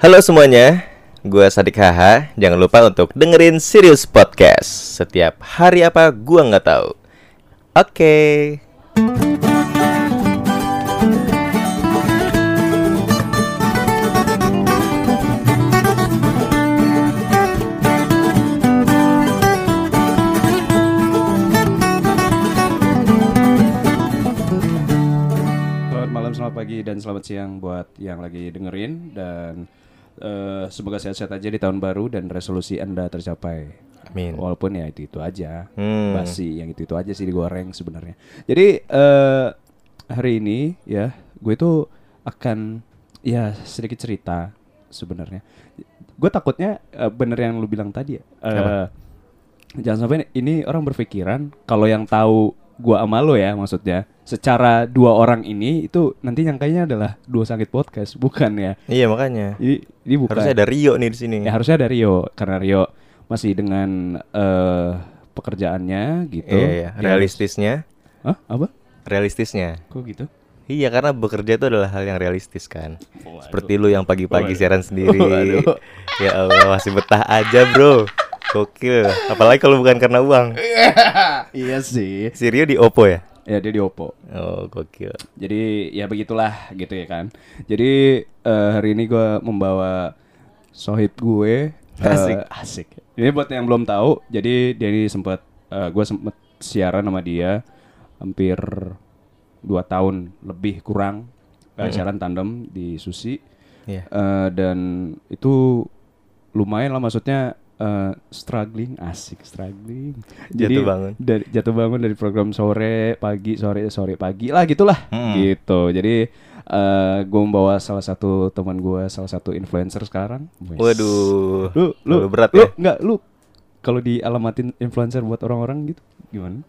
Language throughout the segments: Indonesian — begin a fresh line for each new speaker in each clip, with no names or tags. Halo semuanya, gua Sadik Haha. Jangan lupa untuk dengerin Sirius Podcast setiap hari apa gua nggak tahu. Oke.
Selamat malam, selamat pagi, dan selamat siang buat yang lagi dengerin dan eh, semoga sehat-sehat aja di tahun baru dan resolusi anda tercapai.
Amin.
Walaupun ya itu itu aja,
Hmm.
basi yang itu itu aja sih digoreng sebenarnya. Jadi eh hari ini ya gue tuh akan ya sedikit cerita sebenarnya. Gue takutnya eh, bener yang lu bilang tadi. ya. Eh, jangan sampai ini orang berpikiran kalau yang tahu gua sama lo ya maksudnya secara dua orang ini itu nanti nyangkanya adalah dua sakit podcast bukan ya
Iya makanya.
jadi ini bukan
Harusnya ada Rio nih di sini.
ya harusnya ada Rio karena Rio masih dengan eh, pekerjaannya gitu
Iya, iya.
Dia-
Realistisnya,
Hah? apa
realistisnya.
kok gitu
Iya karena bekerja itu adalah hal yang realistis kan. Seperti lu yang pagi-pagi siaran sendiri.
Waduh.
Ya Allah masih betah aja bro. Gokil. Apalagi kalau bukan karena uang.
iya sih
Si Rio di Oppo ya.
ya dia di Oppo
Oh gokil.
jadi ya begitulah gitu ya kan jadi eh, hari ini gua membawa sohib gue eh,
Asik.
asik ini buat yang belum tahu jadi dia ini sempat eh, gua gue sempat siaran sama dia hampir dua tahun lebih kurang Eh, siaran tandem di Susi
Iya.
Eh, dan itu lumayan lah maksudnya eh, struggling asik struggling
Jatuh bangun.
dari jatuh bangun dari program sore pagi sore sore pagi lah gitulah
Hmm.
gitu jadi eh gue membawa salah satu teman gue salah satu influencer sekarang Wes.
Waduh.
lu lu
Terlalu berat
lu,
ya.
nggak lu kalau dialamatin influencer buat orang-orang gitu gimana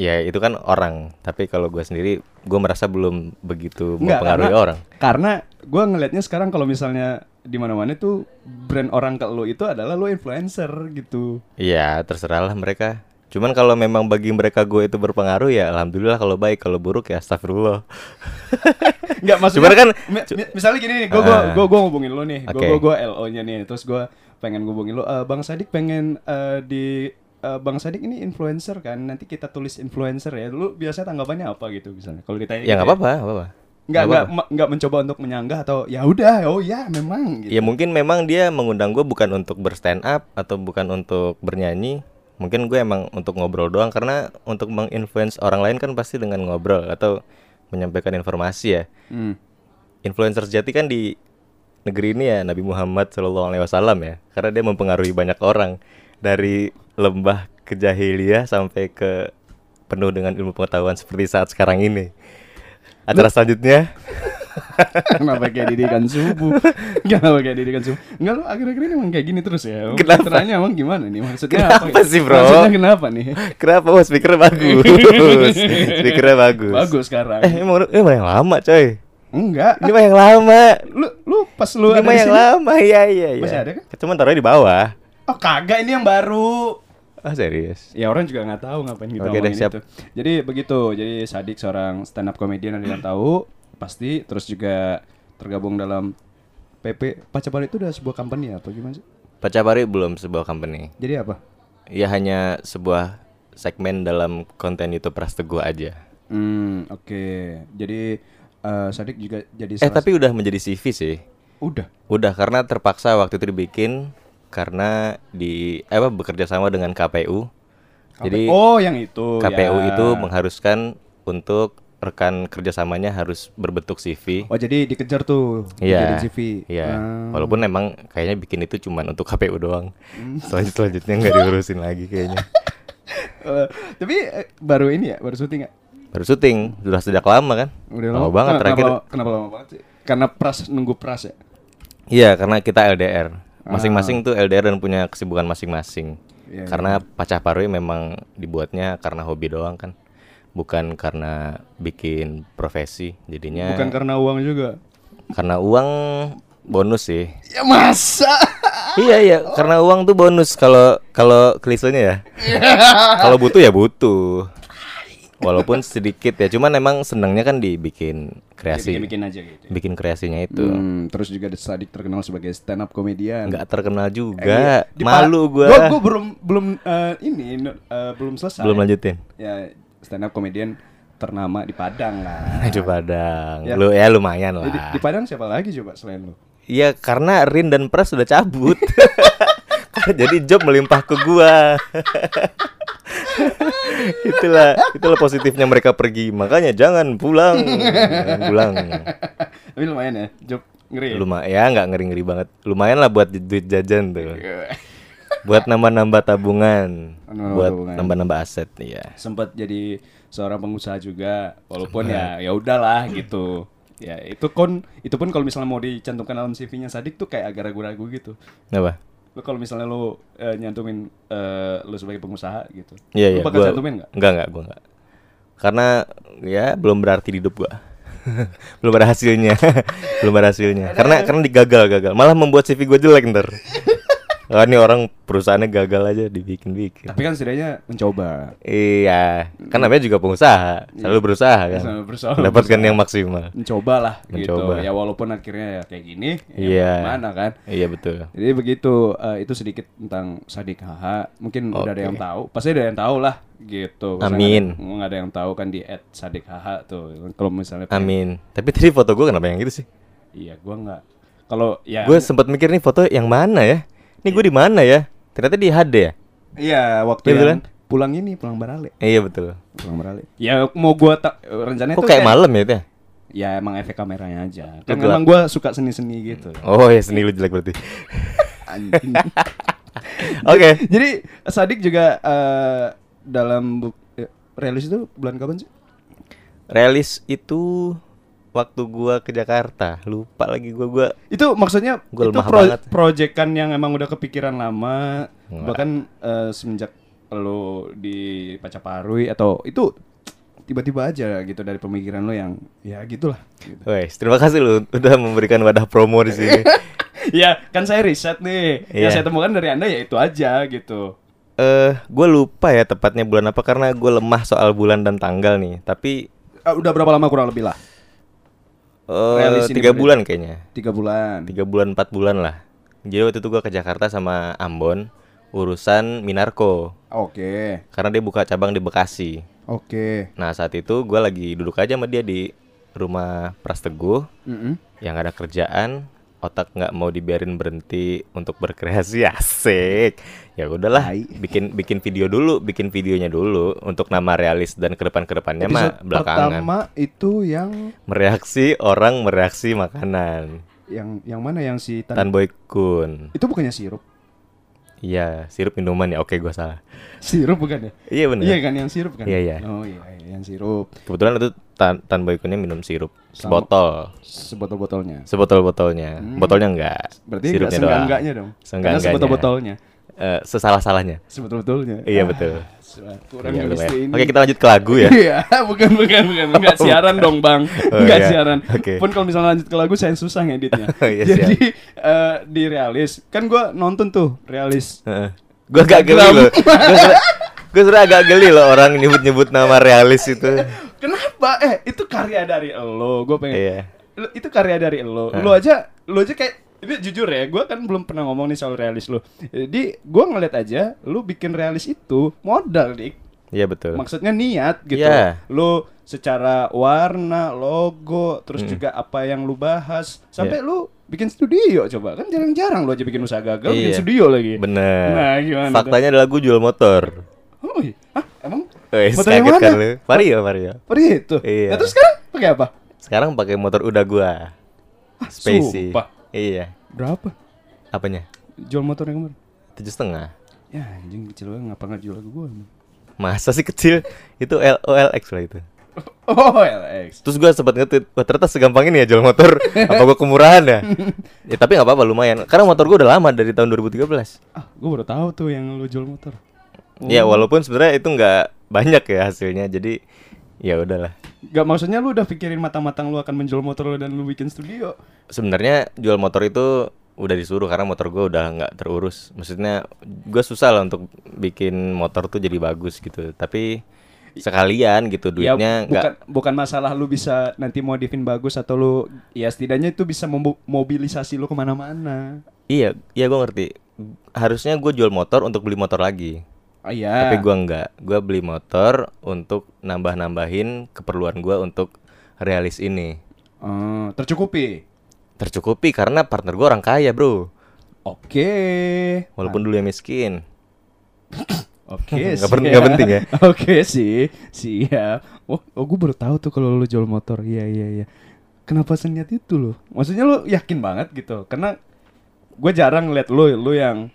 Ya itu kan orang. Tapi kalau gue sendiri, gue merasa belum begitu
Nggak,
mempengaruhi
karena-
orang.
Karena gue ngelihatnya sekarang kalau misalnya di mana-mana tuh brand orang ke lu itu adalah lu influencer gitu.
Iya terserahlah mereka. Cuman kalau memang bagi mereka gue itu berpengaruh ya alhamdulillah kalau baik kalau buruk ya astagfirullah.
Enggak
Cuman
maksudnya
kan-
mi- mi- misalnya gini nih, gue
Ah.
gua, gua, gua ngubungin lu nih, gue
Oke.
gua, gua LO-nya nih, terus gue pengen ngubungin lu, "Eh, Bang Sadik pengen eh, di eh, Bang Sadik ini influencer kan, nanti kita tulis influencer ya. Lu biasanya tanggapannya apa gitu misalnya? Kalau ditanya
ya nggak apa-apa, nggak apa-apa.
Enggak
Nggak
enggak
apa-apa.
mencoba untuk menyanggah atau ya udah, oh ya memang gitu.
Ya mungkin memang dia mengundang gue bukan untuk berstand up atau bukan untuk bernyanyi. Mungkin gue emang untuk ngobrol doang karena untuk menginfluence orang lain kan pasti dengan ngobrol atau menyampaikan informasi ya.
Hmm.
Influencer sejati kan di negeri ini ya Nabi Muhammad Shallallahu Alaihi Wasallam ya, karena dia mempengaruhi banyak orang dari lembah ke jahiliyah sampai ke penuh dengan ilmu pengetahuan seperti saat sekarang ini. Acara selanjutnya
Kenapa kayak didikan subuh? Kenapa kayak didikan subuh? Enggak lu akhir-akhir ini emang kayak gini terus ya. Emang
Kenapa?
Pencitraannya emang gimana nih? Maksudnya ya?
Kenapa sih, Bro?
Maksudnya kenapa nih?
Kenapa? Oh, speakernya bagus. speakernya bagus.
Bagus sekarang.
Eh, emang ini mah yang lama, coy.
Enggak.
Ini mah yang lama.
Lu lu pas lu
Ini
ada
mah
di
yang
sini.
lama. Iya, iya, iya.
Masih ada kan?
Cuman taruhnya di bawah.
Oh, kagak ini yang baru.
Ah, serius.
Ya orang juga nggak tahu ngapain kita
Oke deh,
ngomongin
siap.
itu. Jadi begitu. Jadi Sadik seorang stand up comedian ada yang tahu pasti terus juga tergabung dalam PP Pacabar itu udah sebuah company atau gimana sih?
Pacabari belum sebuah company.
Jadi apa?
Ya hanya sebuah segmen dalam konten YouTube Pras Teguh aja.
Hmm, oke. Jadi eh, Sadik juga jadi
Eh
salah
tapi udah menjadi CV sih.
Udah.
Udah karena terpaksa waktu itu dibikin karena di eh, apa bekerja sama dengan KPU. Jadi
oh yang itu.
KPU
ya.
itu mengharuskan untuk rekan kerjasamanya harus berbentuk CV.
Oh jadi dikejar tuh.
Iya.
dijadiin CV.
Iya.
Ah.
Walaupun emang kayaknya bikin itu cuman untuk KPU doang.
Hmm.
Selanjut selanjutnya nggak diurusin lagi kayaknya.
Eh, tapi eh, baru ini ya, baru syuting ya.
Baru syuting sudah sejak lama kan? banget
Kenapa-
terakhir.
Kenapa, kenapa lama banget sih? Karena pras nunggu pras ya.
Iya, karena kita LDR. Masing-masing tuh LDR dan punya kesibukan masing-masing.
Ah. Iya,
karena pacah parui memang dibuatnya karena hobi doang kan. Bukan karena bikin profesi. Jadinya
Bukan karena uang juga.
karena uang bonus sih.
Ya masa.
iya iya, karena uang tuh bonus kalau kalau klisenya ya. kalau butuh ya butuh. walaupun sedikit ya cuman emang senangnya kan dibikin kreasi
bikin aja gitu.
bikin kreasinya itu
Hmm, terus juga The Sadik terkenal sebagai stand up komedian.
nggak terkenal juga
Iya, di pa-
malu
gua.
gua
gua belum belum eh, ini no- eh, belum selesai.
belum lanjutin
Ya stand up komedian ternama di Padang lah.
Aduh Padang,
Ya.
lu ya lumayan
Jadi, di
lah.
Padang siapa lagi coba selain lu?
Iya karena Rin dan Pras sudah cabut, jadi job melimpah ke gua. itulah itulah positifnya mereka pergi makanya jangan pulang jangan pulang
Tapi lumayan ya, job ngeri. ya?
lumayan ya nggak ngeri ngeri banget lumayan lah buat duit jajan tuh
Iya.
buat nambah nambah tabungan
Nambah-nambah
buat
tabungan.
nambah nambah aset iya
Sempat jadi seorang pengusaha juga, walaupun ya ya udahlah gitu. Ya itu kon itu pun kalau misalnya mau dicantumkan dalam CV-nya Sadik tuh kayak agak ragu-ragu gitu.
apa
Lu kalau misalnya lu eh, nyantumin eh, lu sebagai pengusaha gitu.
iya
lu
iya
bakal cantumin nggak?
nggak nggak gua nggak karena ya belum berarti di hidup gua belum ada hasilnya belum ada hasilnya karena karena digagal gagal malah membuat CV gua jelek ntar Wah, ini orang perusahaannya gagal aja dibikin-bikin.
Tapi kan setidaknya mencoba.
Iya, kan namanya juga pengusaha, selalu berusaha kan.
Iya. Selalu berusaha. Iya.
Mendapatkan yang maksimal.
Mencoba lah
Mencoba.
gitu. Ya walaupun akhirnya ya kayak gini,
Iya.
ya mana kan.
Iya betul.
Jadi begitu eh, itu sedikit tentang Sadik Haha. Mungkin udah ada yang tahu. Pasti ada yang tahu lah gitu. Pasti
Amin.
nggak ada- Nggak ada yang tahu kan di at Sadik Haha tuh. Kalau misalnya
Amin. Tapi tadi foto gue kenapa yang gitu sih?
iya gua nggak kalau ya
Gue sempat mikir nih foto yang mana ya? Ini gue di mana ya? Ternyata di HD ya?
iya waktu
Iya,
yang
betulan.
pulang ini pulang Barale.
Iya betul.
Pulang Barale. Ya mau gua tak rencananya
Kok
tuh
kayak
Nah, kayak-
malam ya? Teh?
ya emang efek kameranya aja. Kan
Betul.
memang gua suka seni-seni gitu.
Oh ya seni lu jelek berarti.
Anjing.
Oke.
Jadi Sadik juga eh, dalam bu- eh, rilis itu bulan kapan sih?
Rilis itu waktu gua ke Jakarta. Lupa lagi gua gua
Itu maksudnya
Gua
itu
lemah banget.
proyekan yang emang udah kepikiran lama
Enggak.
bahkan eh, semenjak lo di Pacaparui atau itu tiba-tiba aja gitu dari pemikiran lo yang ya gitulah gitu.
Wes, terima kasih lu udah memberikan wadah promo di sini.
ya kan saya riset nih.
Iya.
Yang saya temukan dari Anda ya itu aja gitu.
Eh, gua lupa ya tepatnya bulan apa karena gua lemah soal bulan dan tanggal nih. Tapi
Eh, udah berapa lama kurang lebih lah?
eh
Rilis ini
tiga
berarti.
bulan kayaknya.
Tiga bulan.
tiga bulan empat bulan lah jadi waktu itu gua ke Jakarta sama Ambon urusan Minarko
Oke.
karena dia buka cabang di Bekasi
Oke.
nah saat itu gua lagi duduk aja sama dia di rumah Pras Teguh
Mm-mm.
yang ada kerjaan otak nggak mau dibiarin berhenti untuk berkreasi asik ya udahlah
Tai.
bikin bikin video dulu bikin videonya dulu untuk nama realis dan ke depan kedepannya mah
Episode
belakangan
pertama itu yang
mereaksi orang mereaksi makanan
yang yang mana yang si tan-
Tanboy Kun
itu bukannya sirup
Iya, sirup minuman ya. Oke, gua salah.
sirup bukan ya
Iya benar.
iya kan yang sirup kan
Iya, iya.
oh iya iya, yang sirup
Kebetulan itu tan tan boykunnya minum sirup
Sama.
sebotol,
sebotol botolnya
sebotol botolnya. Botolnya enggak.
berarti nggak seenggak-enggaknya dong karena
Seenggak-enggaknya.
sebotol botolnya
sesalah salahnya.
sebotol botolnya
Eh, Iya betul.
kurang
Iya,
Ah, listrik
lumayan.
ini
Oke, kita lanjut ke lagu ya.
Iya, bukan bukan bukan enggak siaran dong, Bang.
Oh,
Enggak
iya.
siaran.
Oke.
Pun kalau misalnya lanjut ke lagu saya susah ngeditnya.
Oh, iya,
Jadi eh, di realis, kan gua nonton tuh realis.
Heeh. gua agak geli loh. Gua sudah- Gua sudah agak geli loh orang nyebut-nyebut nama realis itu.
Kenapa? Eh, itu karya dari lo. Gua pengen
Iya.
Lu- itu karya dari lo.
Eh.
Lo aja lo aja kayak ini jujur ya, gua kan belum pernah ngomong nih soal realis lo. Jadi gua ngeliat aja lu bikin realis itu modal, Dik.
Iya betul.
Maksudnya niat gitu.
Iya.
Lu secara warna, logo,
Hmm.
terus juga apa yang lu bahas sampai
Iya.
lu bikin studio coba. Kan jarang-jarang lu aja bikin usaha gagal bikin
Iya.
studio lagi.
Bener.
Nah, gimana tuh?
Faktanya adalah gua jual motor.
Oh, iya. Hah, emang?
Wes,
Motor yang
kaget kan
mana?
lu. Vario, Vario.
Seperti itu.
Iya.
Nah, terus sekarang pakai apa? Ah,
Sekarang pakai motor udah gua. Spacey.
sumpah.
Iya.
Berapa?
Apanya?
Jual motornya kemarin.
Tujuh setengah.
Ya, anjing kecil banget ngapa nggak jual ke gua? emang?
Masa sih kecil? Itu LOLX lah itu.
Oh, LX.
Terus gua sempat nge-tweet, wah ternyata segampang ini ya jual motor. Apa gua kemurahan ya? ya tapi nggak apa-apa lumayan. Karena motor gua udah lama dari tahun 2013.
Ah, gue baru tahu tuh yang lu jual motor.
Ya
Hmm.
walaupun sebenarnya itu nggak banyak ya hasilnya. Jadi ya udahlah.
Gak maksudnya lu udah pikirin matang-matang lu akan menjual motor lu dan lu bikin studio.
Sebenarnya jual motor itu udah disuruh karena motor gua udah nggak terurus. Maksudnya gua susah lah untuk bikin motor tuh jadi bagus gitu. Tapi sekalian gitu duitnya nggak
Ya, bukan bukan masalah lu bisa nanti modifin bagus atau lu ya setidaknya itu bisa membo- mobilisasi lu kemana-mana.
iya iya gue ngerti harusnya gue jual motor untuk beli motor lagi
Ah iya.
tapi gua nggak gua beli motor untuk nambah nambahin keperluan gua untuk realis ini
Eh, tercukupi.
tercukupi karena partner gua orang kaya bro
Oke. Ah.
walaupun dulu yang miskin
Oke
Nggak
siap.
pen- nggak penting ya?
Oke sih, siap. Oh, oh gue baru tahu tuh kalau lu jual motor. Iya iya iya. Kenapa seniat itu lo? Maksudnya lu yakin banget gitu? Karena gue jarang ngeliat lu, lu yang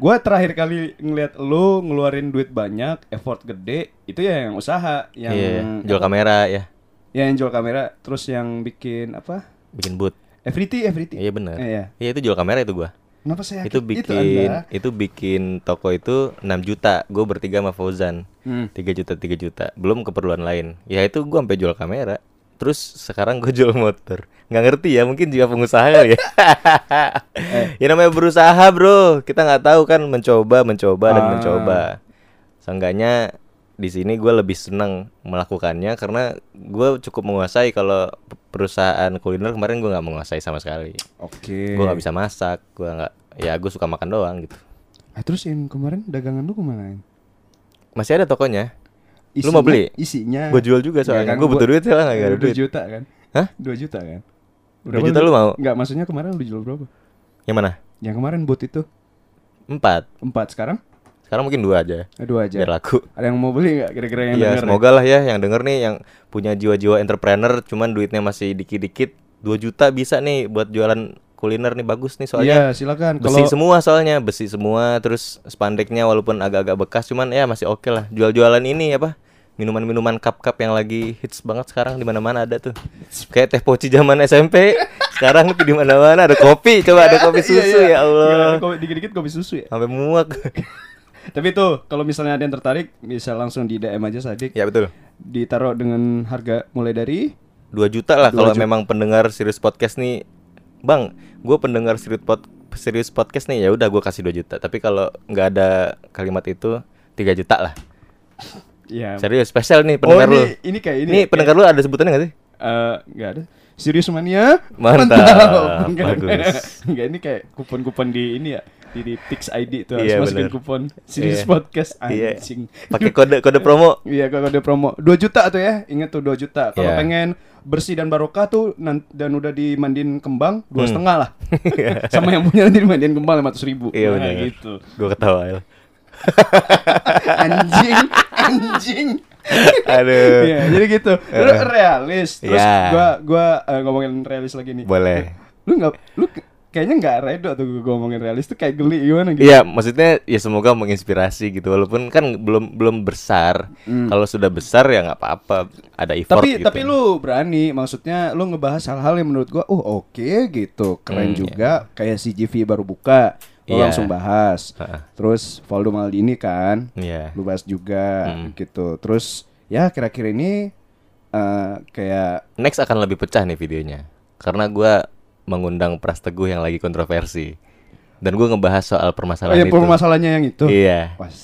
gue terakhir kali ngeliat lu ngeluarin duit banyak, effort gede, itu ya yang usaha, yang
Iya, jual kamera ya
ya yang jual kamera, terus yang bikin apa?
bikin booth
Everything, everything.
iya bener
Iya.
iya itu jual kamera itu gua
Kenapa saya
itu
yakin
bikin
Anda?
itu, bikin toko itu 6 juta gue bertiga sama Fauzan
Hmm.
3 juta 3 juta belum keperluan lain ya itu gue sampai jual kamera terus sekarang gue jual motor nggak ngerti ya mungkin juga pengusaha kali ya ya namanya berusaha bro kita nggak tahu kan mencoba mencoba dan
Ah.
mencoba seenggaknya di sini gue lebih senang melakukannya karena gue cukup menguasai kalau perusahaan kuliner kemarin gue nggak menguasai sama sekali
Oke.
gue nggak bisa masak gue nggak ya gue suka makan doang gitu
Ah, terus yang kemarin dagangan lu kemana?
masih ada tokonya Lu mau beli?
Isinya.
gue jual juga
Iya, kan
soalnya gue butuh duit soalnya nggak ada duit
2 juta kan?
Hah?
2 juta kan?
Dua juta lu mau?
Enggak, maksudnya kemarin lu jual berapa?
yang mana
Yang kemarin bot itu
empat
4 sekarang?
sekarang mungkin dua aja
Eh, Dua aja.
biar laku
Ada yang mau beli enggak kira-kira yang
ya
denger?
semoga lah ya yang denger nih yang punya jiwa-jiwa entrepreneur cuman duitnya masih dikit-dikit 2 juta bisa nih buat jualan kuliner nih bagus nih soalnya
Iya, silakan.
besi
Kalau
semua soalnya besi semua terus spandeknya walaupun agak-agak bekas cuman ya masih oke lah jual-jualan ini apa minuman-minuman cup-cup yang lagi hits banget sekarang di mana-mana ada tuh kayak teh poci zaman SMP sekarang tuh di mana-mana ada kopi coba ada kopi
Iya,
susu ya
iya.
Allah
Iya, kopi- Dikit-dikit kopi susu ya.
sampai muak
Tapi tuh, kalau misalnya ada yang tertarik, bisa langsung di DM aja Sadik.
ya betul
Ditaruh dengan harga mulai dari
2 juta lah
Dua
kalau
juta.
memang pendengar serius podcast nih Bang, gue pendengar serius pod serius podcast nih ya udah gue kasih 2 juta. Tapi kalau nggak ada kalimat itu 3 juta lah.
ya
Serius spesial nih
Oh,
pendengar lu.
ini, ini kayak ini. ya.
Ini pendengar lu ada sebutannya gak sih?
Eh, nggak ada. Serius mania?
Mantap.
Enggak,
Bagus.
enggak. Enggak, ini kayak kupon-kupon di ini ya. Di, di Tix ID itu harus
Iya,
masukin
bener.
kupon Serius
Iya.
Podcast
Iya.
anjing.
Pakai kode kode promo.
Iya, kalau ada promo 2 juta tuh ya. Ingat tuh 2 juta. Kalau
Iya.
pengen bersih dan barokah tuh nan- dan udah dimandin kembang dua
Hmm.
setengah lah. Sama yang punya nanti dimandin kembang 500 ribu.
Iya
Nah,
benar.
gitu.
Gue ketawa. ya. El.
Anjing, anjing.
Aduh.
Iya, jadi gitu. Lu realis. Terus
Eh. Iya.
gua gua eh, ngomongin realis lagi nih. Eh,
Boleh.
Lu nggak lu ke- kayaknya nggak redo tuh gua ngomongin realis tuh kayak geli gimana gitu.
Iya, maksudnya ya semoga menginspirasi gitu. Walaupun kan belum belum besar. Kalau sudah besar ya nggak apa-apa. Ada effort
Hmm. Tapi
gitu.
tapi lu berani, maksudnya lu ngebahas hal-hal yang menurut gua oh oke gitu. Keren juga kayak CGV baru buka.
Hmm,
Lu
Iya.
langsung bahas.
Ha-ha.
Terus Valdo Maldini kan.
Iya. Hmm.
Lu bahas juga gitu. Terus ya kira-kira ini eh, kayak
next akan lebih pecah nih videonya karena gua mengundang Pras Teguh yang lagi kontroversi dan gua ngebahas soal
Oh
permasalahan
ya
itu.
permasalahannya yang itu.
Iya,
Pas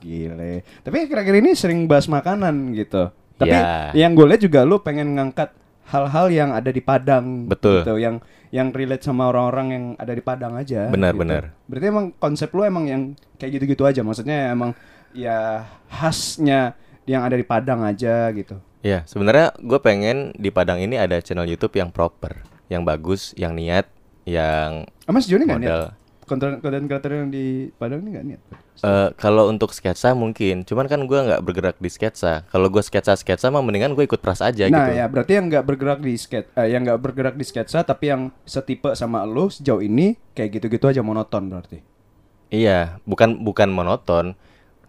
gile. Tapi akhir-akhir ini sering bahas makanan gitu. Tapi
Ya.
yang gue lihat juga lu pengen ngangkat hal-hal yang ada di Padang.
Betul.
Gitu, yang yang relate sama orang-orang yang ada di Padang aja.
Benar,
gitu.
benar.
Berarti emang konsep lu emang yang kayak gitu-gitu aja. Maksudnya emang ya khasnya yang ada di Padang aja gitu.
iya. Sebenarnya gua pengen di Padang ini ada channel YouTube yang proper, yang bagus, yang niat, yang
Emang sejauh ini nggak niat?
Modal.
Konten konten kreator yang di Padang ini nggak niat?
eh, kalau untuk sketsa mungkin, cuman kan gua nggak bergerak di sketsa. Kalau gua sketsa sketsa mah mendingan gue ikut Pras aja
nah
gitu.
ya berarti yang nggak bergerak di skate eh, yang nggak bergerak di sketsa tapi yang setipe sama lo sejauh ini kayak gitu-gitu aja monoton berarti
Iya, bukan bukan monoton.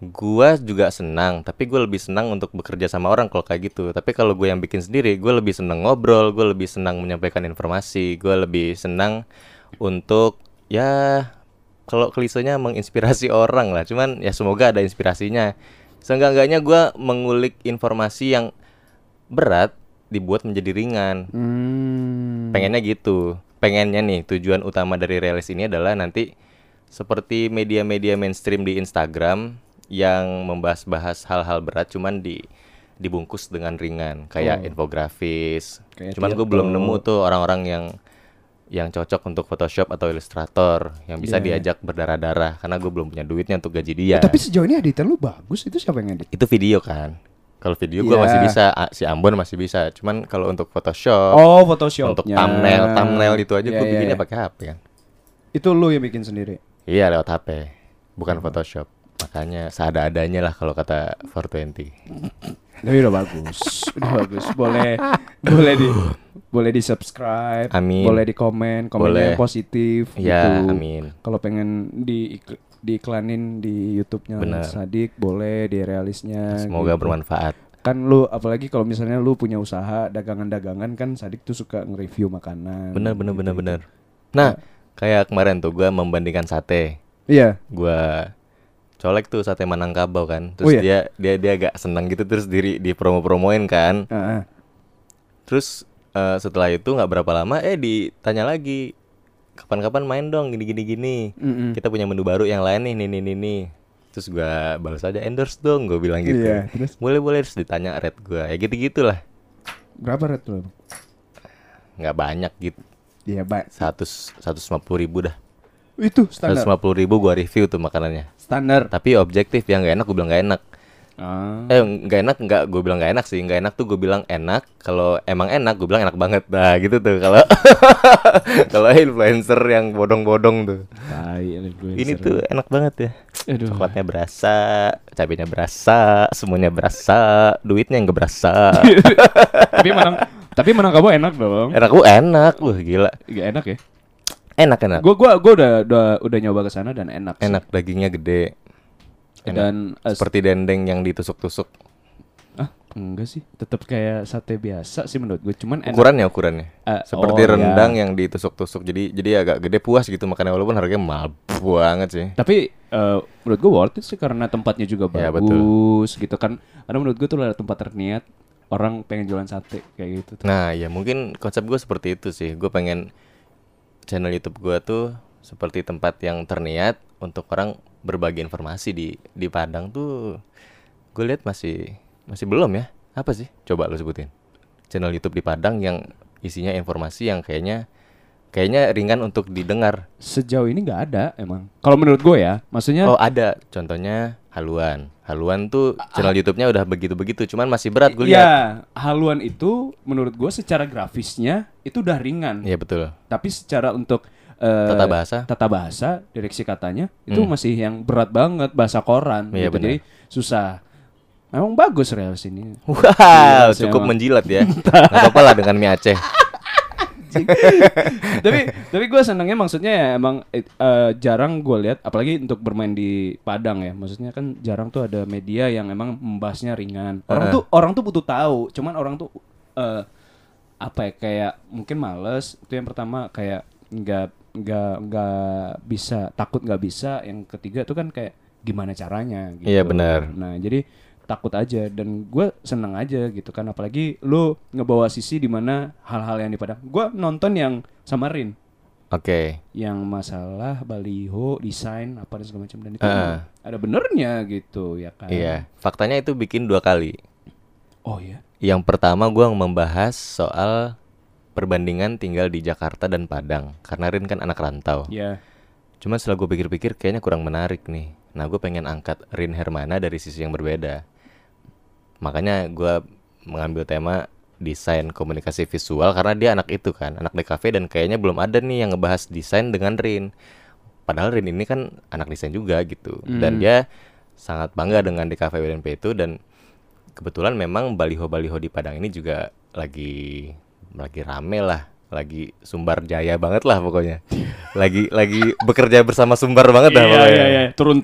Gua juga senang, tapi gue lebih senang untuk bekerja sama orang kalau kayak gitu. Tapi kalau gue yang bikin sendiri, gue lebih senang ngobrol, gue lebih senang menyampaikan informasi, gue lebih senang untuk ya kalau klisenya menginspirasi orang lah. Cuman ya semoga ada inspirasinya. Seenggak-enggaknya gue mengulik informasi yang berat dibuat menjadi ringan
hmm.
pengennya gitu pengennya nih tujuan utama dari realis ini adalah nanti seperti media-media mainstream di Instagram yang membahas-bahas hal-hal berat cuman di dibungkus dengan ringan kayak infografis.
Kayak
cuman gue
Tirto.
belum nemu tuh orang-orang yang yang cocok untuk Photoshop atau Illustrator yang bisa
Iya.
diajak berdarah-darah karena gue belum punya duitnya untuk gaji dia.
Eh, tapi sejauh ini editor lu bagus itu siapa yang edit?
itu video kan. Kalau video gue
Iya.
masih bisa, a- si Ambon masih bisa. Cuman kalau untuk Photoshop,
Oh, Photoshop.
untuk thumbnail, thumbnail itu aja
Iya,
gue bikinnya pakai HP kan.
ya. Itu lu yang bikin sendiri.
Iya lewat HP, bukan
Hmm.
Photoshop. Makanya seada-adanya lah kalau kata 420.
Nah, Tapi udah bagus, udah bagus. Boleh, boleh di, boleh di subscribe,
Amin.
boleh di komen, komennya
Boleh.
yang positif.
Ya,
gitu.
amin.
Kalau pengen di diiklanin di YouTube-nya
Bener.
Sadik, boleh di realisnya.
Semoga
gitu.
bermanfaat.
Kan lu apalagi kalau misalnya lu punya usaha dagangan-dagangan kan Sadik tuh suka nge-review makanan.
Bener, bener, bener,
gitu.
bener. Nah, kayak kemarin tuh gue membandingkan sate.
Iya.
Gue colek tuh sate Manangkabau kan. Terus
Oh, iya.
dia dia dia agak seneng gitu terus di di promo-promoin kan.
Ah, ah.
Terus eh, setelah itu nggak berapa lama eh ditanya lagi kapan-kapan main dong gini gini gini.
Mm-mm.
Kita punya menu baru yang lain nih nih nih nih. nih." Terus gua balas aja endorse dong gue bilang gitu.
Iya, terus?
Boleh boleh terus ditanya red gua. Ya gitu gitulah.
Berapa red lu?
Nggak banyak gitu.
Iya, Pak.
100 150 ribu dah.
Itu standar.
150 ribu gua review tuh makanannya.
Standar.
Tapi objektif yang nggak enak gue bilang nggak enak.
Ah.
Eh nggak enak nggak gue bilang nggak enak sih nggak enak tuh gue bilang enak kalau emang enak gue bilang enak banget nah gitu tuh kalau kalau influencer yang bodong-bodong tuh ini tuh enak banget ya
Aduh.
coklatnya berasa cabenya berasa semuanya berasa duitnya nggak berasa
tapi menang tapi menang kamu enak dong
enak gue enak wah gila
Gak enak ya
enak enak
gue gua gua udah udah udah nyoba ke sana dan enak sih.
enak dagingnya gede enak.
dan eh,
seperti dendeng yang ditusuk-tusuk
ah enggak sih tetap kayak sate biasa sih menurut gue cuman enak
ukurannya ukurannya
Eh,
seperti
oh, iya.
rendang yang ditusuk-tusuk jadi jadi agak gede puas gitu makannya walaupun harganya mahal banget sih
tapi eh, menurut gue worth it sih karena tempatnya juga
Ya,
bagus gitu kan karena menurut gue tuh ada tempat terniat orang pengen jualan sate kayak gitu tuh.
Nah, ya mungkin konsep gue seperti itu sih. Gue pengen channel YouTube gue tuh seperti tempat yang terniat untuk orang berbagi informasi di di Padang tuh. Gue lihat masih masih belum ya. Apa sih? Coba lo sebutin. Channel YouTube di Padang yang isinya informasi yang kayaknya kayaknya ringan untuk didengar.
sejauh ini nggak ada emang kalau menurut gue ya maksudnya
Oh, ada. Contohnya haluan. Haluan tuh
Ah.
channel YouTube-nya udah begitu-begitu, cuman masih berat gue lihat.
ya haluan itu menurut gue secara grafisnya itu udah ringan
Iya, betul.
tapi secara untuk eh,
Tata bahasa. Hmm.
tata bahasa direksi katanya itu masih yang berat banget bahasa koran
Iya,
gitu.
benar.
jadi susah emang bagus reels ini
Wow,
Gila sih
cukup
emang.
menjilat ya. Gak apa-apa lah dengan mie Aceh.
tapi tapi gue senangnya maksudnya ya emang eh, eh, jarang gue lihat apalagi untuk bermain di Padang ya maksudnya kan jarang tuh ada media yang emang membahasnya ringan orang tuh orang tuh butuh tahu cuman orang tuh eh, apa ya kayak mungkin males itu yang pertama kayak nggak nggak nggak bisa takut nggak bisa yang ketiga tuh kan kayak gimana caranya gitu.
Iya, benar.
nah jadi takut aja dan gue seneng aja gitu kan apalagi lu ngebawa sisi di mana hal-hal yang di Padang gue nonton yang samarin
Oke.
yang masalah baliho desain apa dan segala macam dan itu
Ah.
ada benernya gitu ya kan
Iya, faktanya itu bikin dua kali.
oh ya
Yang pertama gua membahas soal perbandingan tinggal di Jakarta dan Padang karena Rin kan anak rantau.
ya
Cuma setelah gue pikir-pikir kayaknya kurang menarik nih. Nah, gue pengen angkat Rin Hermana dari sisi yang berbeda. Makanya gua mengambil tema desain komunikasi visual karena dia anak itu kan, anak DKV dan kayaknya belum ada nih yang ngebahas desain dengan Rin. Padahal Rin ini kan anak desain juga gitu.
Hmm.
Dan dia sangat bangga dengan DKV WNP itu dan kebetulan memang baliho-baliho di Padang ini juga lagi lagi rame lah, lagi sumbar jaya banget lah pokoknya. Lagi lagi bekerja bersama sumbar banget dah
Iya,
pokoknya.
iya, iya. turun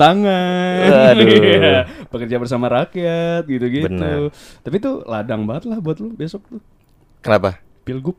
tangan,
Waduh.
Iya. bekerja bersama rakyat gitu-gitu.
Benar.
Tapi tuh ladang banget lah buat lu besok tuh
Kenapa?
pilgub.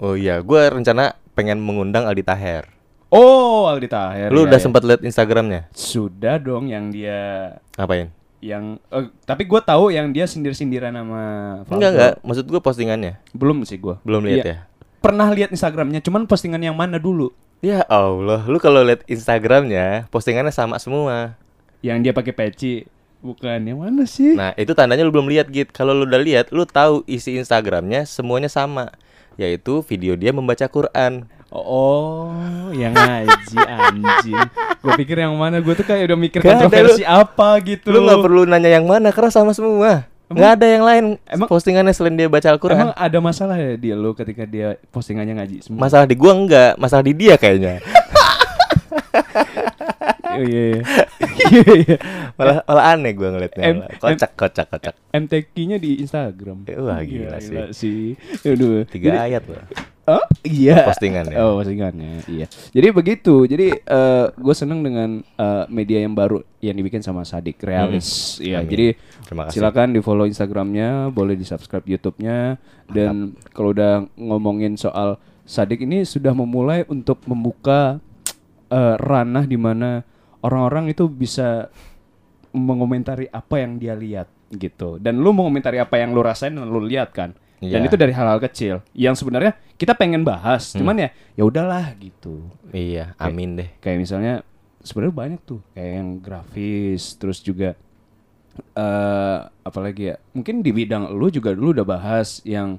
Oh iya, gua rencana pengen mengundang Aldi Taher.
Oh Aldi Taher.
Lu
iya,
udah
iya.
sempat lihat Instagramnya?
sudah dong yang dia
Ngapain?
yang eh, tapi gue tahu yang dia sindir-sindiran sama Valdo.
Enggak enggak, maksud gua postingannya.
belum sih gue
Belum lihat ya?
pernah lihat Instagramnya cuman postingan yang mana dulu
ya? Ya Allah, lu kalau lihat Instagramnya, postingannya sama semua.
yang dia pakai peci bukan yang mana sih
Nah, itu tandanya lu belum lihat git. Kalau lu udah lihat, lu tahu isi Instagramnya semuanya sama, yaitu video dia membaca Quran.
oh, oh, yang ngaji anjing gue pikir yang mana gue tuh kayak udah mikir
Gak ada
kontroversi apa gitu
Lu nggak perlu nanya yang mana karena sama semua. Nggak ada yang lain
Emang-
postingannya selain dia baca
emang
Al-Quran.
ada masalah ya dia lu ketika dia postingannya ngaji semua
Masalah di gua enggak, masalah di dia kayaknya.
Oh, iya iya. Iya, iya
Malah malah aneh gua ngeliatnya.
Em-
Malah Kocak kocak kocak.
MTQ-nya di Instagram. Iya,
Eh, wah, gila
sih. Aduh.
Tiga
Jadi-
ayat loh.
Oh, iya.
Postingan ya.
Oh, postingannya. Iya. Jadi begitu. Jadi gue seneng dengan eh, media yang baru yang dibikin sama Sadik Realis. Iya.
Amin.
Jadi
Hmm. Terima kasih.
silakan di follow Instagramnya, boleh di subscribe YouTube-nya, dan kalau udah ngomongin soal Sadik ini sudah memulai untuk membuka eh, ranah di mana orang-orang itu bisa mengomentari apa yang dia lihat gitu. Dan lu mengomentari apa yang lu rasain dan lu lihat kan. Dan
Iya. Hmm.
itu dari hal-hal kecil yang sebenarnya kita pengen bahas, cuman ya ya udahlah gitu.
Iya, amin deh.
Kayak misalnya sebenarnya banyak tuh kayak yang grafis, terus juga eh apalagi ya? Mungkin di bidang lu juga dulu udah bahas yang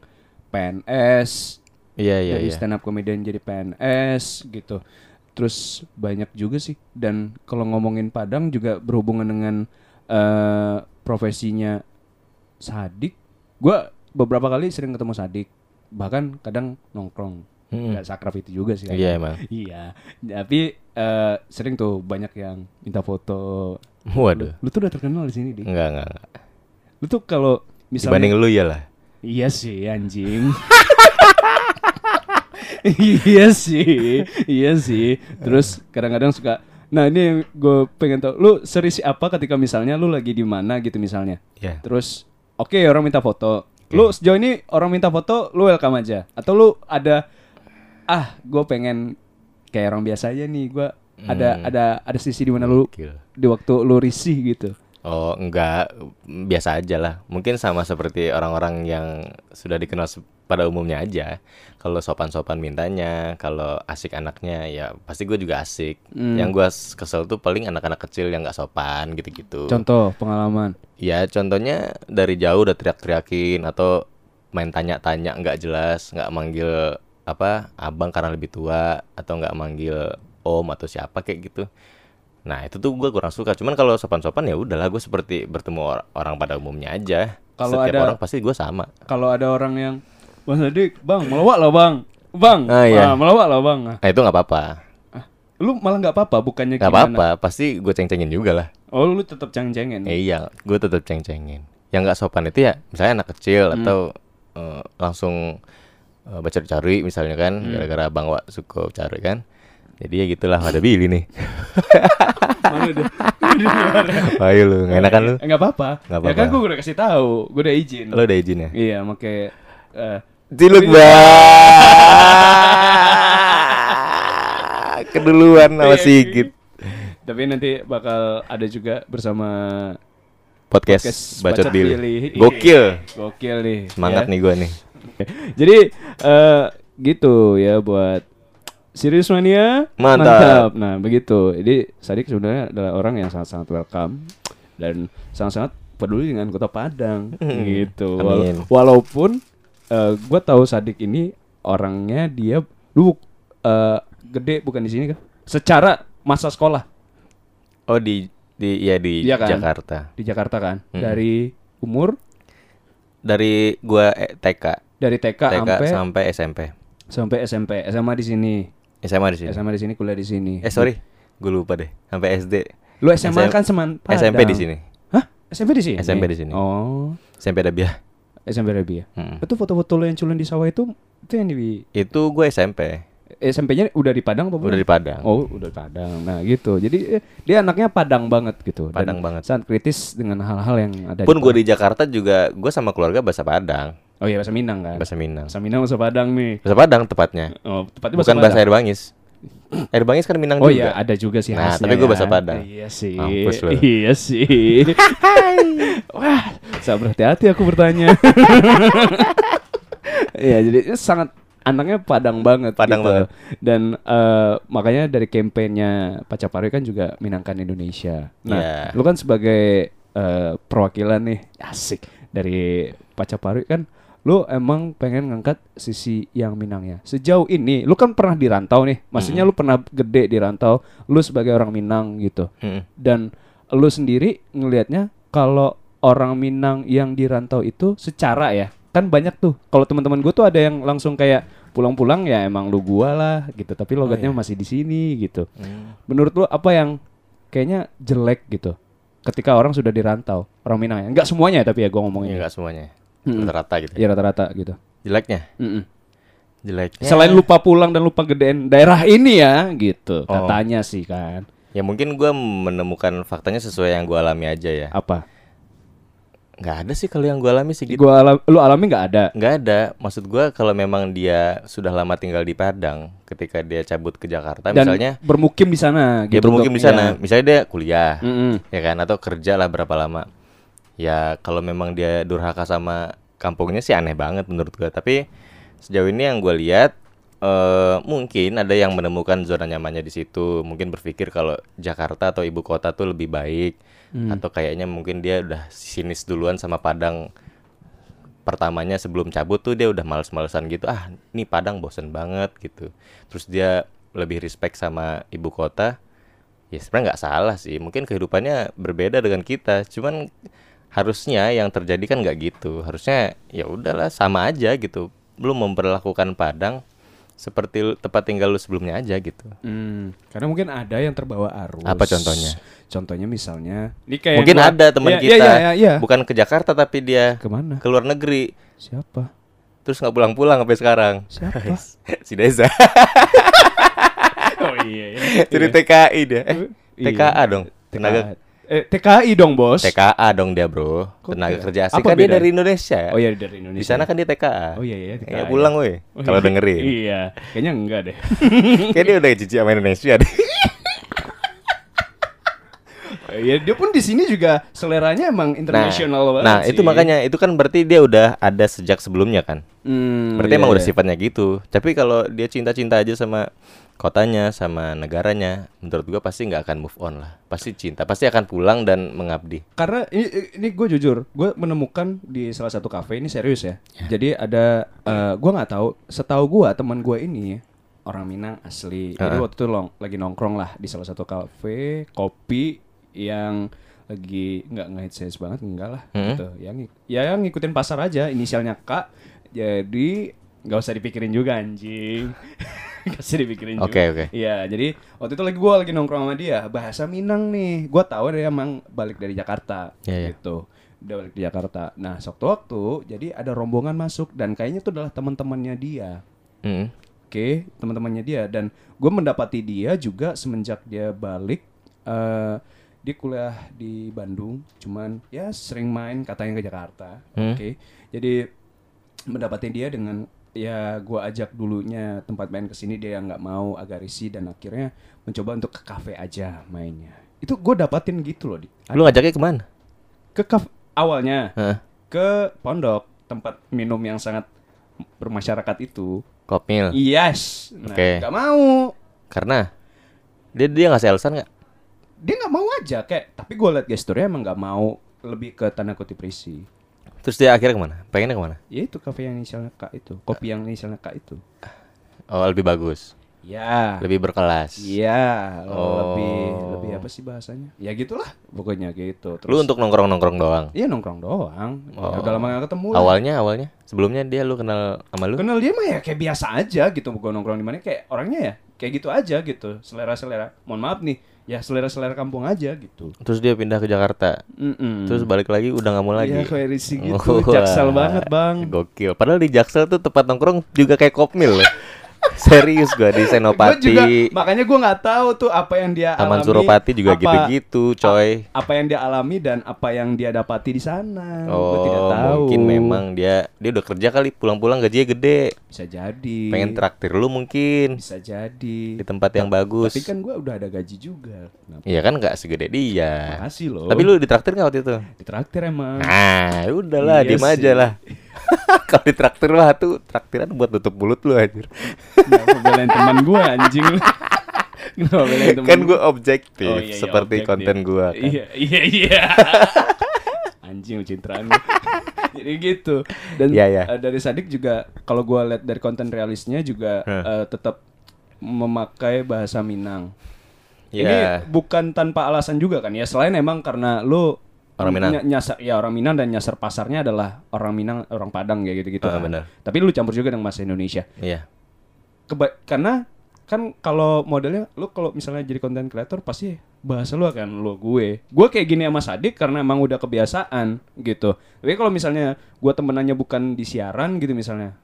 PNS,
Iya iya
jadi
iya.
stand up comedian jadi PNS gitu. Terus banyak juga sih dan kalau ngomongin Padang juga berhubungan dengan eh, profesinya Sadik. Gua beberapa kali sering ketemu Sadik, bahkan kadang nongkrong.
Mm-mm.
Nggak sakraf itu juga sih.
Iya emang.
Iya. Tapi eh, sering tuh banyak yang minta foto.
Waduh.
Lu tuh udah terkenal di sini, Di.
Enggak enggak. enggak.
Lu tuh kalau misalnya
Dibanding lu ya lah.
Iya sih anjing. iya sih, iya sih. Terus kadang-kadang suka. Nah ini gue pengen tau, lu serisi apa ketika misalnya lu lagi di mana gitu misalnya.
Iya.
Terus oke orang minta foto. Lu sejauh ini orang minta foto, lu welcome aja. Atau lu ada ah gue pengen kayak orang biasa aja nih. Gue ada
Hmm.
ada ada sisi di mana lu
Gokil.
di waktu lu risih gitu.
Oh enggak, biasa aja lah. Mungkin sama seperti orang-orang yang sudah dikenal se- pada umumnya aja. Kalau sopan-sopan mintanya, kalau asik anaknya, ya pasti gue juga asik. Yang gue kesel tuh paling anak-anak kecil yang nggak sopan gitu-gitu.
Contoh pengalaman.
ya contohnya dari jauh udah teriak-teriakin atau main tanya-tanya nggak jelas, nggak manggil apa abang karena lebih tua atau nggak manggil om atau siapa kayak gitu. Nah itu tuh gue kurang suka. Cuman kalau sopan-sopan ya udahlah gue seperti bertemu or- orang pada umumnya aja.
Kalau
Setiap
ada-
orang pasti gue sama.
kalau ada orang yang Bang Sadik, Bang, melawak lah Bang. Bang,
Ah, iya.
ah, melawak lah Bang. Ah,
Nah itu nggak apa-apa,
ah. Lu malah nggak apa-apa bukannya
nggak apa-apa.
gimana.
Pasti gue ceng-cengin juga lah.
Oh, lu tetap ceng-cengen.
Ya iya, gue tetap ceng-cengin. Yang nggak sopan itu ya, misalnya anak kecil atau eh, langsung eh, baca cari misalnya kan, gara-gara bang Wak suka cari kan. Jadi ya gitulah ada bili nih.
Mana dia?
Ayo iya lu, nggak enakan lu.
Eh, Nggak apa-apa.
Nggak
Ya kan
apa-apa.
gua udah kasih tahu, gua udah izin.
Lo udah izin ya?
Iya, make eh
Ciluk bang. Keduluan sama Sigit.
tapi nanti bakal ada juga bersama
Podcast,
Podcast
bacot
Bacot
Billy. Iya.
Billy.
Gokil.
Gokil nih.
Semangat
ya.
nih gue nih.
Jadi eh gitu ya buat Serius Mania
Mantap.
Nah begitu Jadi Sadik sebenarnya adalah orang yang sangat-sangat welcome Dan sangat-sangat peduli dengan kota Padang Gitu Wala-
Hmm. Amin.
Walaupun eh gue tahu Sadik ini orangnya dia Lu eh, gede bukan di sini kah? Secara masa sekolah
Oh di di ya di
Iya kan?
Jakarta.
di Jakarta kan
Hmm.
Dari umur
Dari gua eh, TK.
dari TK,
TK sampai
sampai
SMP.
sampai SMP SMA di sini
SMA di sini.
SMA di sini kuliah di sini
Eh sorry, gue lupa deh. Sampai SD.
Lu SMA kan seman Padang.
SMP di sini.
Hah? SMP di sini?
SMP di sini.
Oh,
SMP Dabiah.
SMP Arabia.
Mm.
Itu foto-foto lu yang culun di sawah itu itu yang di
Itu gue SMP.
SMP-nya udah di Padang apa belum?
Udah di Padang.
Oh, udah di Padang. Nah, gitu. Jadi eh, dia anaknya Padang banget gitu. Dan
Padang banget.
Sangat kritis dengan hal-hal yang ada
Pun
di
gue di Jakarta juga gue sama keluarga bahasa Padang,
Padang. Oh iya, bahasa Minang kan.
bahasa Minang.
Bahasa Minang bahasa Padang nih.
Bahasa Padang tepatnya.
Oh, tepatnya
Bukan bahasa air bangis. Air bangis kan Minang
Oh
juga.
iya, ada juga sih
Nah,
khasnya.
tapi gua
ya.
bahasa Padang.
Iya sih.
Mampus lu.
Iya sih. Wah, sabar hati-hati aku bertanya. Iya, jadi sangat anaknya padang banget
Padang
gitu.
banget.
dan eh, makanya dari kampanyenya Pacapari kan juga minangkan Indonesia
Yeah.
nah lu kan sebagai eh, perwakilan nih asik dari Pacapari kan lu emang pengen ngangkat sisi yang Minangnya sejauh ini lu kan pernah di rantau nih maksudnya lu pernah gede di rantau lu sebagai orang Minang gitu
Mm.
dan lu sendiri ngelihatnya kalau orang Minang yang di rantau itu secara ya kan banyak tuh kalau teman-teman gue tuh ada yang langsung kayak pulang-pulang ya emang lu gua lah gitu tapi logatnya masih di sini gitu
Mm.
menurut lu apa yang kayaknya jelek gitu ketika orang sudah di rantau orang Minang ya nggak semuanya tapi ya gue
Ya,
ngomongin
nggak semuanya.
Mm.
Rata-rata gitu.
ya rata-rata gitu
Jeleknya,
Mm-mm.
jeleknya.
selain lupa pulang dan lupa gedein daerah ini ya gitu katanya sih kan
Ya mungkin gua menemukan faktanya sesuai yang gua alami aja ya.
apa
Nggak ada sih kalau yang gua alami sih gitu.
gua alam- lu alami nggak ada
Nggak ada. Maksud gua kalau memang dia sudah lama tinggal di Padang, ketika dia cabut ke Jakarta
dan
misalnya,
bermukim di sana
dia
gitu
bermukim
Dok.
di sana.
Ya.
Misalnya dia kuliah,
Mm-mm.
ya kan atau kerja lah berapa lama. Ya kalau memang dia durhaka sama kampungnya sih aneh banget menurut gua. Tapi sejauh ini yang gua lihat eh mungkin ada yang menemukan zona nyamannya di situ. Mungkin berpikir kalau Jakarta atau ibu kota tuh lebih baik atau kayaknya mungkin dia udah sinis duluan sama Padang pertamanya sebelum cabut tuh dia udah males-malesan gitu ah ini Padang bosen banget gitu terus dia lebih respect sama ibu kota ya sebenarnya nggak salah sih mungkin kehidupannya berbeda dengan kita cuman harusnya yang terjadi kan nggak gitu harusnya ya udahlah sama aja gitu belum memperlakukan Padang seperti lu- tempat tinggal lu sebelumnya aja gitu
Hmm, karena mungkin ada yang terbawa arus.
Apa contohnya?
Contohnya misalnya,
mungkin ada teman
Iya,
kita
Iya, iya, iya.
bukan ke Jakarta tapi dia
Kemana?
ke luar negeri
Siapa?
terus nggak pulang-pulang sampai sekarang
Siapa?
si Deza
oh iya.
jadi TKI dia eh,
Iya.
TKA dong tenaga
Eh, TKI dong bos.
TKA dong dia bro
Kok
tenaga
TKA?
kerja asing
Apa
kan dia
bedanya?
dari Indonesia
Oh iya dari Indonesia.
di sana kan dia TKA
Oh iya iya.
Kayaknya pulang woi
Oh,
kalau
iya.
dengerin
Iya, kayaknya enggak deh.
kayak dia udah jijik sama Indonesia deh
Eh, Iya, dia pun di sini juga seleranya emang internasional banget.
nah
sih.
itu makanya itu kan berarti dia udah ada sejak sebelumnya kan
Hmm,
berarti
iya,
emang udah
iya.
sifatnya gitu tapi kalau dia cinta-cinta aja sama kotanya sama negaranya menurut gua pasti nggak akan move on lah pasti cinta pasti akan pulang dan mengabdi
Karena ini, ini gue jujur, gue menemukan di salah satu kafe ini serius ya. Jadi ada, eh, gue nggak tahu. Setahu gue teman gue ini orang Minang asli. Jadi waktu itu long, lagi nongkrong lah di salah satu kafe kopi yang lagi nggak ngehit sense banget enggak lah gitu. Yang ya yang ngikutin pasar aja inisialnya K. Jadi nggak usah dipikirin juga anjing. Gak usah dipikirin juga.
Oke, oke.
Iya, jadi waktu itu lagi gue lagi nongkrong sama dia, bahasa Minang nih. Gue tahu dia emang balik dari Jakarta,
Iya, iya.
gitu. Udah balik di Jakarta. Nah, sewaktu waktu jadi ada rombongan masuk dan kayaknya itu adalah teman-temannya dia.
Mm.
Oke, teman-temannya dia dan gue mendapati dia juga semenjak dia balik eh dia kuliah di Bandung, cuman ya sering main katanya ke Jakarta.
Hmm.
Oke. Jadi mendapati dia dengan ya gua ajak dulunya tempat main ke sini dia nggak mau agak risih dan akhirnya mencoba untuk ke kafe aja mainnya. Itu gue dapatin gitu loh di
lu ngajaknya kemana
ke kafe awalnya
Heeh.
ke pondok tempat minum yang sangat bermasyarakat itu.
kopmil
Yes. Nah,
Oke.
nggak mau.
Karena dia dia ngasih alasan nggak?
Dia nggak mau aja kayak. Tapi gue liat gesturnya emang nggak mau lebih ke tanda kutip risi.
Terus dia akhirnya kemana? Pengennya kemana?
Ya itu kafe yang inisialnya K itu, kopi yang inisialnya K itu.
Oh lebih bagus,
Ya.
lebih berkelas.
Iya,
Oh.
lebih lebih apa sih bahasanya? Ya gitulah, pokoknya gitu. Terus
Lu untuk nongkrong nongkrong doang.
Iya nongkrong doang.
Oh.
Ya, udah lama gak ketemu. lah.
Awalnya awalnya sebelumnya dia lu kenal sama lu?
Kenal dia mah ya kayak biasa aja gitu. Gue nongkrong di mana kayak orangnya ya kayak gitu aja gitu. Selera-selera. Mohon maaf nih. Ya selera-selera kampung aja gitu.
Terus dia pindah ke Jakarta.
Mm-mm.
Terus balik lagi udah nggak mau lagi. Oh,
Hmm. Iya kayak risih gitu,
Wah,
jaksel banget bang.
Gokil. Padahal di Jaksel tuh tempat nongkrong juga kayak kopmil. loh. Serius gua di
Gue juga
Senopati,
makanya gue nggak tahu tuh apa yang dia
Taman
alami.
Suropati juga
apa-
gitu-gitu, coy.
Apa yang dia alami dan apa yang dia dapati di sana. gue
Oh,
Ah, tidak tahu.
mungkin memang dia dia udah kerja kali, pulang-pulang gajinya gede.
bisa jadi.
Pengen traktir lu mungkin
bisa jadi.
di tempat yang bagus.
Tapi kan gue udah ada gaji juga. Kenapa?
Iya kan nggak segede dia.
Makasih loh.
Tapi lu ditraktir nggak waktu itu?
ditraktir emang.
Nah, udahlah,
Iya
diem
sih.
aja lah. Kalau di traktir mah tuh traktiran buat nutup mulut lu anjir.
Kenapa belain teman gue anjing lu? Kenapa belain teman
kan
gua?
gue objektif
Oh, iya, iya,
seperti
objektif.
konten gue. Kan.
Iya, iya, iya. Anjing citraan lu. Jadi gitu. Dan
Iya, iya.
eh, dari Sadik juga kalau gua lihat dari konten realisnya juga
Hah.
eh, tetap memakai bahasa Minang.
Iya.
Ini bukan tanpa alasan juga kan ya. Selain emang karena lu
Orang Minang.
ny- nyasar ya orang Minang dan nyasar pasarnya adalah orang Minang, orang Padang kayak gitu-gitu.
Ah,
kan.
benar.
Tapi lu campur juga dengan bahasa Indonesia
Iya.
keba karena kan kalau modelnya lu kalau misalnya jadi content creator pasti bahasa lu akan lu gue. Gue kayak gini sama Sadik karena emang udah kebiasaan gitu. Tapi kalau misalnya gue temenannya bukan di siaran gitu misalnya,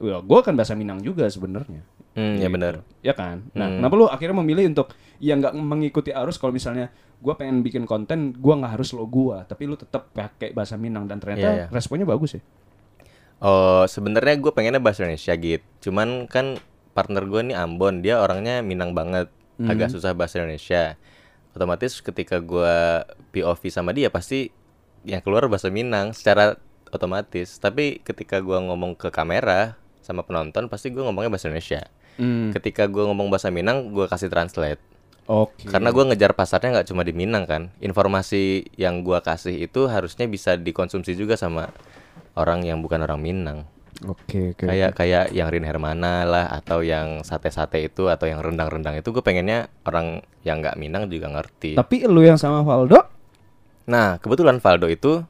ya gue akan bahasa Minang juga sebenarnya.
Hmm, ya benar.
Ya kan. Nah, kenapa lu akhirnya memilih untuk yang nggak mengikuti arus kalau misalnya gue pengen bikin konten, gue nggak harus lo gue, tapi lu tetap pakai bahasa Minang dan ternyata
Iya, iya.
responnya bagus ya.
Oh, sebenarnya gue pengennya bahasa Indonesia gitu. Cuman kan partner gue nih Ambon, dia orangnya Minang banget, agak susah bahasa Indonesia. Otomatis ketika gue POV sama dia pasti yang keluar bahasa Minang secara otomatis. Tapi ketika gue ngomong ke kamera sama penonton pasti gue ngomongnya bahasa Indonesia.
Hmm.
Ketika gue ngomong bahasa Minang, gue kasih translate.
Oke.
Karena gue ngejar pasarnya nggak cuma di Minang kan. Informasi yang gue kasih itu harusnya bisa dikonsumsi juga sama orang yang bukan orang Minang
Oke, oke.
kayak kayak yang Rin Hermana lah atau yang sate-sate itu atau yang rendang-rendang itu gue pengennya orang yang nggak Minang juga ngerti.
Tapi lu yang sama Valdo
Nah kebetulan Valdo itu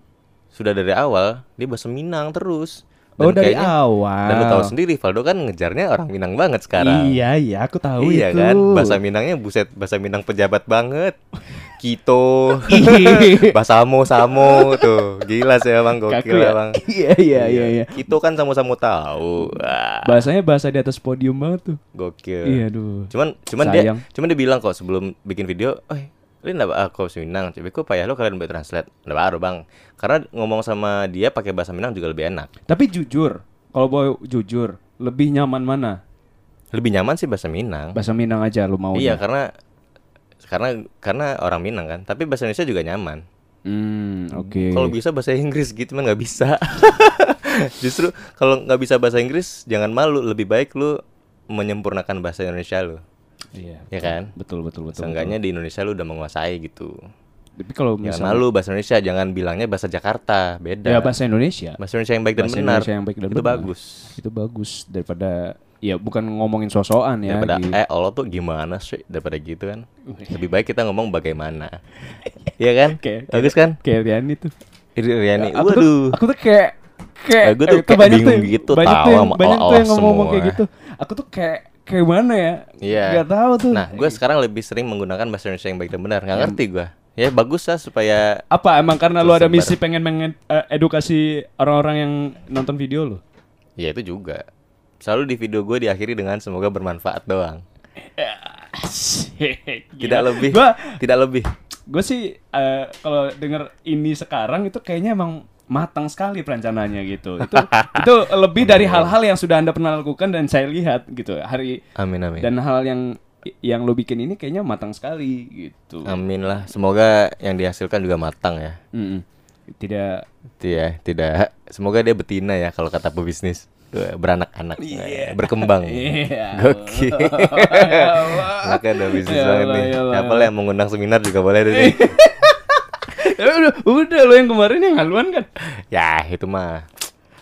sudah dari awal dia bahasa Minang terus.
Oh dari
kayaknya-
awal.
Dan lu tahu sendiri Valdo kan ngejarnya orang Minang banget sekarang.
Iya iya aku tahu
iya
itu.
kan bahasa Minangnya buset bahasa Minang pejabat banget. Kito, basamo samo tuh gila sih emang
Kaku
gokil
ya?
emang.
Iya iya iya iya.
Kito kan sama-sama tahu. Wah,
Bahasanya bahasa di atas podium banget tuh.
gokil.
Iya duh.
cuman cuman
Sayang.
dia cuman dia bilang kok sebelum bikin video eh ini nggak aku Minang tapi kok payah lo kalian buat translate nggak baru bang karena ngomong sama dia pakai bahasa Minang juga lebih enak
Tapi jujur, kalau mau jujur, lebih nyaman mana?
lebih nyaman sih bahasa Minang
Bahasa Minang aja lu mau.
Hmm. iya karena karena karena orang Minang kan tapi bahasa Indonesia juga nyaman
Hmm, oke.
kalau bisa bahasa Inggris gitu cuman nggak bisa justru kalau nggak bisa bahasa Inggris jangan malu lebih baik lu menyempurnakan bahasa Indonesia lu
Iya.
ya kan
Betul betul betul.
seenggaknya di Indonesia lu udah menguasai gitu
Tapi kalau
Jangan
misalnya
Ya, malu bahasa Indonesia, jangan bilangnya bahasa Jakarta, beda.
ya bahasa Indonesia.
bahasa Indonesia yang baik dan
bahasa
benar.
Indonesia yang baik dan
itu
benar.
bagus.
Itu bagus daripada ya bukan ngomongin sosokan ya.
Daripada
gitu.
eh Allah tuh gimana sih daripada gitu kan. Lebih baik kita ngomong bagaimana. Iya kan?
Oke, oke.
Bagus kan?
Kayak Riani tuh.
Iri Riani.
aku tuh,
Waduh.
aku tuh kayak kayak
Aku tuh
itu
kayak
banyak
bingung
tuh- ya,
gitu,
banyak
tahu
tuh yang,
sama
banyak tuh yang
Allah
ngomong kayak
semua.
gitu aku tuh kayak kayak mana ya
Iya.
nggak tahu tuh Iya.
Nah, gue sekarang lebih sering menggunakan bahasa Indonesia yang baik dan benar. Nggak ngerti gue. Ya bagus lah supaya
apa emang karena lu ada
Tersebar.
misi pengen mengedukasi orang-orang yang nonton video lu
ya itu juga. Selalu di video gue diakhiri dengan semoga bermanfaat doang.
Iya.
Tidak lebih,
gue
tidak lebih.
gue sih eh, kalau denger ini sekarang itu kayaknya emang matang sekali perencanaannya gitu itu itu lebih dari
Iya.
hal-hal yang sudah anda pernah lakukan dan saya lihat gitu hari
Amin amin.
dan hal yang yang lo bikin ini kayaknya matang sekali gitu.
Amin lah. Semoga yang dihasilkan juga matang ya.
Mm-mm. Tidak
Iya, tidak. Semoga dia betina ya kalau kata pebisnis. Wah, Beranak-anak, Nah, ya, berkembang.
Iya.
Gokil. Anaknya ada bisnis
Ya
banget
Allah,
nih.
ya Allah,
Siapa lah yang mengundang seminar juga boleh deh. nih.
Ya udah, udah lo yang kemarin yang haluan kan?
ya, itu mah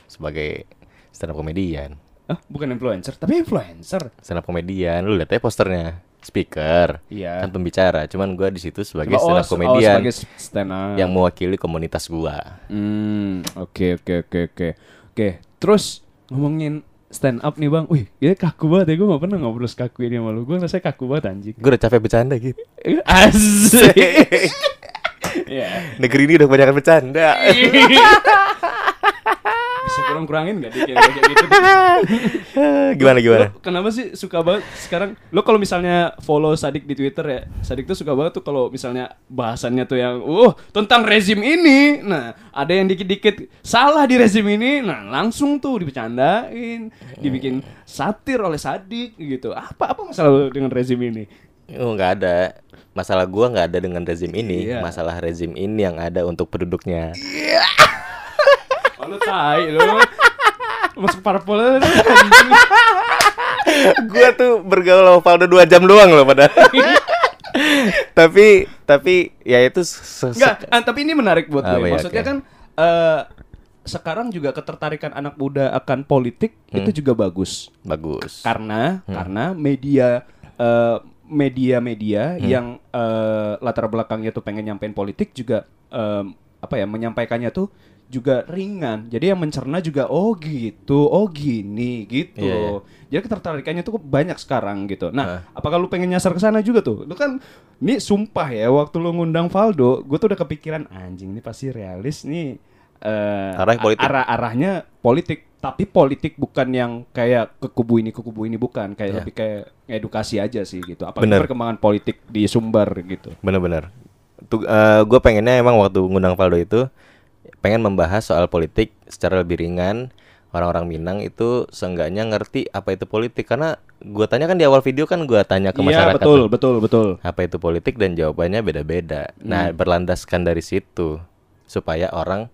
sebagai stand up komedian.
Hah? Ah, bukan influencer, tapi influencer.
Stand up komedian, lu lihat aja posternya. Speaker,
Iya.
kan pembicara. Cuman gua di situ Kan sebagai
Coba,
stand
oh,
up
se- oh,
komedian
sebagai stand up.
yang mewakili komunitas gua.
Hmm, oke oke oke oke. Oke, terus ngomongin stand up nih bang. Wih, ini kaku banget ya. Gue gak pernah ngobrol sekaku ini sama lo. Gue ngerasa kaku banget anjing.
Gua udah capek bercanda gitu.
Asik. ya.
Negeri ini udah kebanyakan bercanda.
Iya. Bisa kurang kurangin gak dikit kayak gitu?
gimana gimana?
Lo kenapa sih suka banget sekarang? Lo kalau misalnya follow Sadik di Twitter ya, Sadik tuh suka banget tuh kalau misalnya bahasannya tuh yang, uh tentang rezim ini. Nah, ada yang dikit-dikit salah di rezim ini, nah langsung tuh dibecandain, dibikin satir oleh Sadik gitu. Apa apa masalah lo dengan rezim ini?
Oh nggak ada masalah gua nggak ada dengan rezim ini
Iya.
masalah rezim ini yang ada untuk penduduknya
Oh, lo tai lo. masuk parpol
gua tuh bergaul sama Valdo 2 jam doang loh pada. tapi tapi ya itu se- se-
Enggak, ah, tapi ini menarik buat
Ah,
gue.
iya,
Maksudnya
oke.
kan eh, sekarang juga ketertarikan anak muda akan politik
Hmm.
itu juga bagus
bagus.
karena
Hmm.
karena media eh, media-media
Hmm.
yang eh, latar belakangnya tuh pengen nyampein politik juga eh, apa ya menyampaikannya tuh juga ringan. Jadi yang mencerna juga oh gitu, oh gini gitu.
Iya, iya.
Jadi ketertarikannya tuh banyak sekarang gitu. Nah, apakah lu pengen nyasar ke sana juga tuh? Lu kan ini sumpah ya waktu lu ngundang Valdo, gue tuh udah kepikiran anjing ini pasti realis nih eh,
Arahnya politik.
arah arahnya politik tapi politik bukan yang kayak ke kubu ini ke kubu ini bukan kayak lebih kayak edukasi aja sih gitu apalagi
Iya. Bener.
perkembangan politik di Sumbar gitu
Bener-bener. Tuh, eh, gue pengennya emang waktu ngundang Valdo itu pengen membahas soal politik secara lebih ringan. Orang-orang Minang itu seenggaknya ngerti apa itu politik karena gue tanya kan di awal video kan gue tanya ke
iya
masyarakat
betul betul betul
apa itu politik dan jawabannya beda-beda.
Hmm.
Nah, berlandaskan dari situ supaya orang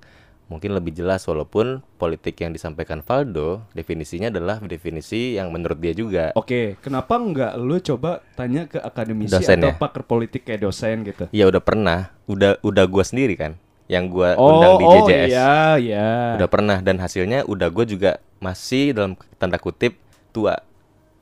mungkin lebih jelas walaupun politik yang disampaikan Valdo definisinya adalah definisi yang menurut dia juga.
oke kenapa nggak lu coba tanya ke akademisi
Dosen
atau
ya?
pakar politik kayak dosen gitu
Ya udah pernah, udah udah gua sendiri kan yang gua undang
oh
di
oh
JJS.
iya iya
Udah pernah dan hasilnya udah gue juga masih dalam tanda kutip tua.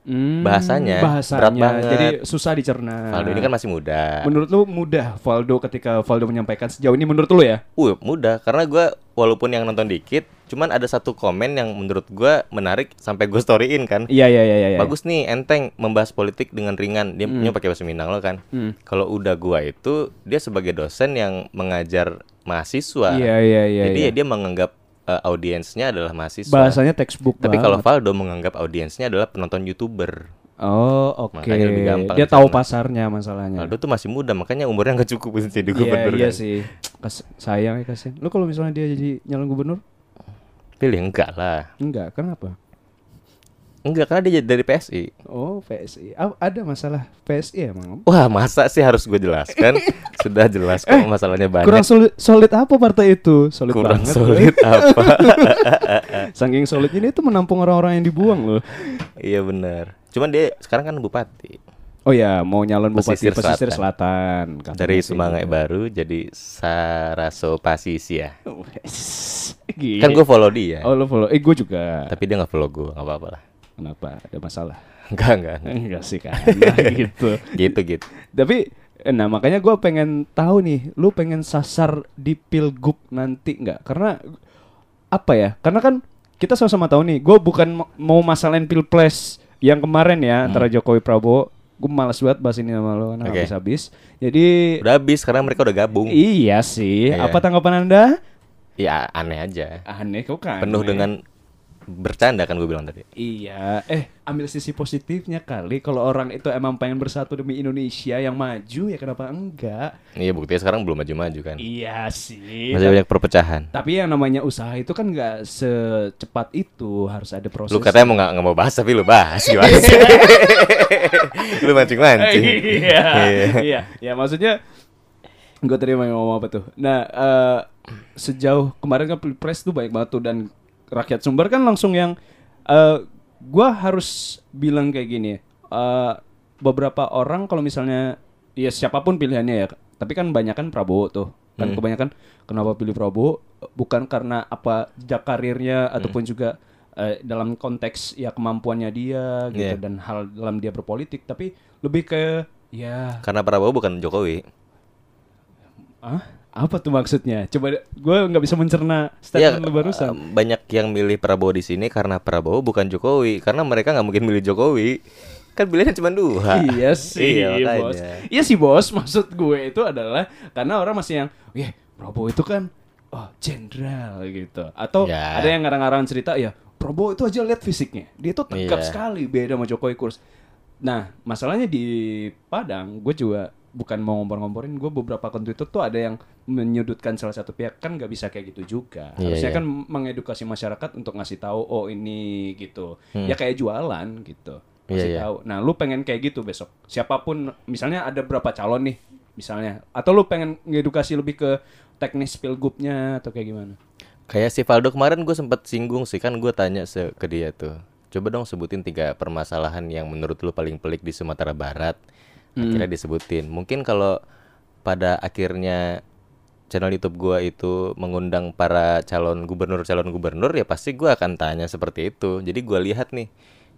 Hmm,
bahasanya
bahasanya
berat banget.
jadi susah dicerna
Valdo ini kan masih muda.
menurut lu mudah Valdo ketika Valdo menyampaikan sejauh ini menurut lu ya
Uh, mudah karena gua walaupun yang nonton dikit, cuman ada satu komen yang menurut gua menarik sampai gue storyin kan.
iya iya iya iya iya.
Bagus nih enteng membahas politik dengan ringan. Dia
Hmm.
punya pakai bahasa Minang lo kan. Kalau udah gua itu dia sebagai dosen yang mengajar mahasiswa.
iya iya iya
Jadi
iya.
ya dia menganggap eh, audiensnya adalah mahasiswa.
bahasanya textbook
Tapi
banget.
kalau Valdo menganggap audiensnya adalah penonton YouTuber.
Oh oke.
Makanya lebih gampang
Dia
di
tahu
sana.
pasarnya masalahnya.
Valdo tuh masih muda makanya umurnya nggak cukup untuk jadi
Iya
gubernur.
iya
kan.
sih. Kas- sayang ya kasihan. Lu kalau misalnya dia jadi nyalon gubernur?
Pilih enggak lah.
Enggak. Kenapa?
Enggak karena dia jadi dari PSI.
Oh PSI. Ah, ada masalah PSI emang.
Wah, masa sih harus gue jelaskan? Sudah jelas kok masalahnya banyak.
Eh, Kurang soli- solid apa partai itu? Solid
Kurang
banget.
solid apa?
Saking solidnya dia itu menampung orang-orang yang dibuang loh.
iya benar. Cuman dia sekarang kan bupati
Oh ya, mau nyalon bupati
Pesisir
pesisir
Selatan.
selatan. katanya
dari
sih.
Semangai Baru jadi Saraso Pasisia.
Wes, Gila.
Kan gue follow dia,
Oh lo follow. Eh gue juga.
tapi dia nggak follow gue, nggak apa-apa lah.
Kenapa? Ada masalah?
Enggak enggak. enggak.
Enggak sih kan. Nah, gitu.
Gitu gitu.
Tapi eh, nah makanya gue pengen tahu nih, lu pengen sasar di pilgub nanti nggak? Karena apa ya? Karena kan kita sama-sama tahu nih, gue bukan ma- mau masalahin pilpres yang kemarin ya antara Jokowi Prabowo. Gue malas banget bahas ini sama lo, karena
Hmm. Oke.
habis-habis. Jadi
Udah habis karena mereka udah gabung.
iya sih.
Iya.
Apa tanggapan anda?
Ya aneh aja.
Aneh kok kan.
Penuh dengan bercanda kan gue bilang tadi.
Iya, eh ambil sisi positifnya kali kalau orang itu emang pengen bersatu demi Indonesia yang maju ya kenapa enggak?
Iya buktinya sekarang belum maju-maju kan.
Iya sih.
Masih banyak perpecahan.
Tapi yang namanya usaha itu kan nggak secepat itu, harus ada proses.
Lu katanya mau nggak nggak mau bahas tapi lu bahas gimana sih? lu mancing mancing.
iya, iya, iya. Maksudnya gue tadi mau ngomong apa tuh? Nah, eh, sejauh kemarin kan pilpres tuh banyak banget tuh dan rakyat Sumber kan langsung yang eh, gua harus bilang kayak gini. eh, beberapa orang kalau misalnya ya siapapun pilihannya ya, tapi kan banyak kan Prabowo tuh. Kan kebanyakan kenapa pilih Prabowo bukan karena apa jejak karirnya ataupun juga eh, dalam konteks ya kemampuannya dia gitu
Iya.
dan hal dalam dia berpolitik tapi lebih ke ya
Karena Prabowo bukan Jokowi.
ah apa tuh maksudnya coba gue nggak bisa mencerna
Iya,
statement lu barusan
eh, banyak yang milih Prabowo di sini karena Prabowo bukan Jokowi. Karena mereka nggak mungkin milih Jokowi. Kan pilihannya cuma dua.
iya sih
Iya, makanya.
bos iya sih bos maksud gue itu adalah karena orang masih yang ya Prabowo itu kan oh jenderal gitu atau
Ya.
ada yang ngarang-ngarang cerita ya Prabowo itu aja lihat fisiknya dia itu tegap
Iya.
sekali beda sama Jokowi kurs nah masalahnya di Padang gue juga bukan mau ngompor-ngomporin gue beberapa konten itu tuh ada yang menyudutkan salah satu pihak kan nggak bisa kayak gitu juga
Iya,
harusnya
iya.
kan mengedukasi masyarakat untuk ngasih tahu oh ini gitu ya kayak jualan gitu
Hmm. Iya,
Kasih
iya.
tahu. Nah, lu pengen kayak gitu besok. Siapapun misalnya ada berapa calon nih misalnya atau lu pengen ngedukasi lebih ke teknis pilgubnya atau kayak gimana?
Kayak si Valdo kemarin gue sempat singgung sih kan gue tanya se- ke dia tuh. Coba dong sebutin tiga permasalahan yang menurut lu paling pelik di Sumatera Barat. Akhirnya disebutin. Mungkin kalau pada akhirnya channel YouTube gua itu mengundang para calon gubernur calon gubernur ya pasti gua akan tanya seperti itu. Jadi gua lihat nih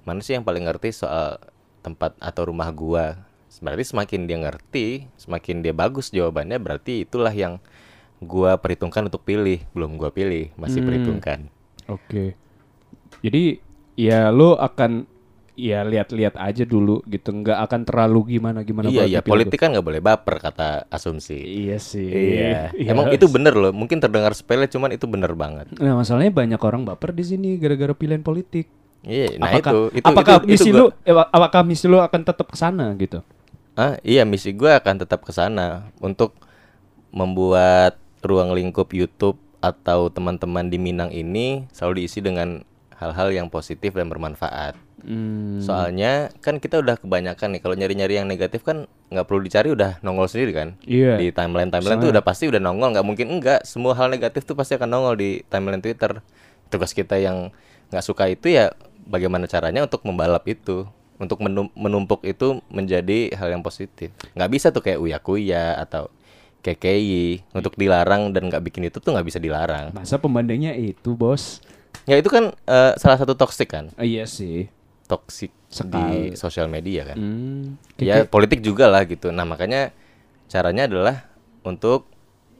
mana sih yang paling ngerti soal tempat atau rumah gua. Berarti semakin dia ngerti, semakin dia bagus jawabannya berarti itulah yang gua perhitungkan untuk pilih belum gua pilih masih
Hmm.
perhitungkan
Oke. Jadi ya lo akan ya lihat-lihat aja dulu gitu, nggak akan terlalu gimana gimana.
iya iya politik kan nggak boleh baper kata asumsi
Iya sih.
iya emang iya. itu bener loh mungkin terdengar sepele cuman itu bener banget
Nah masalahnya banyak orang baper di sini gara-gara pilihan politik.
iya nah
apakah,
itu itu
apakah
itu- itu
misi
gua-
lu, eh, apakah misi lu akan tetap ke sana gitu?
ah iya misi gua akan tetap ke sana untuk membuat ruang lingkup YouTube atau teman-teman di Minang ini selalu diisi dengan hal-hal yang positif dan bermanfaat
Hmm,
soalnya kan kita udah kebanyakan nih kalau nyari-nyari yang negatif kan nggak perlu dicari udah nongol sendiri kan
Iya.
di timeline timeline tuh udah pasti udah nongol nggak mungkin enggak semua hal negatif tuh pasti akan nongol di timeline Twitter tugas kita yang nggak suka itu ya bagaimana caranya untuk membalap itu untuk menum- menumpuk itu menjadi hal yang positif nggak bisa tuh kayak uya kuya atau KKI untuk dilarang dan nggak bikin itu tuh nggak bisa dilarang
Masa pembandingnya itu bos?
ya itu kan eh, salah satu toksik kan
Eh, iya sih.
toksik di
Sekali.
sosial media kan
Hmm.
ya politik juga lah gitu nah makanya caranya adalah untuk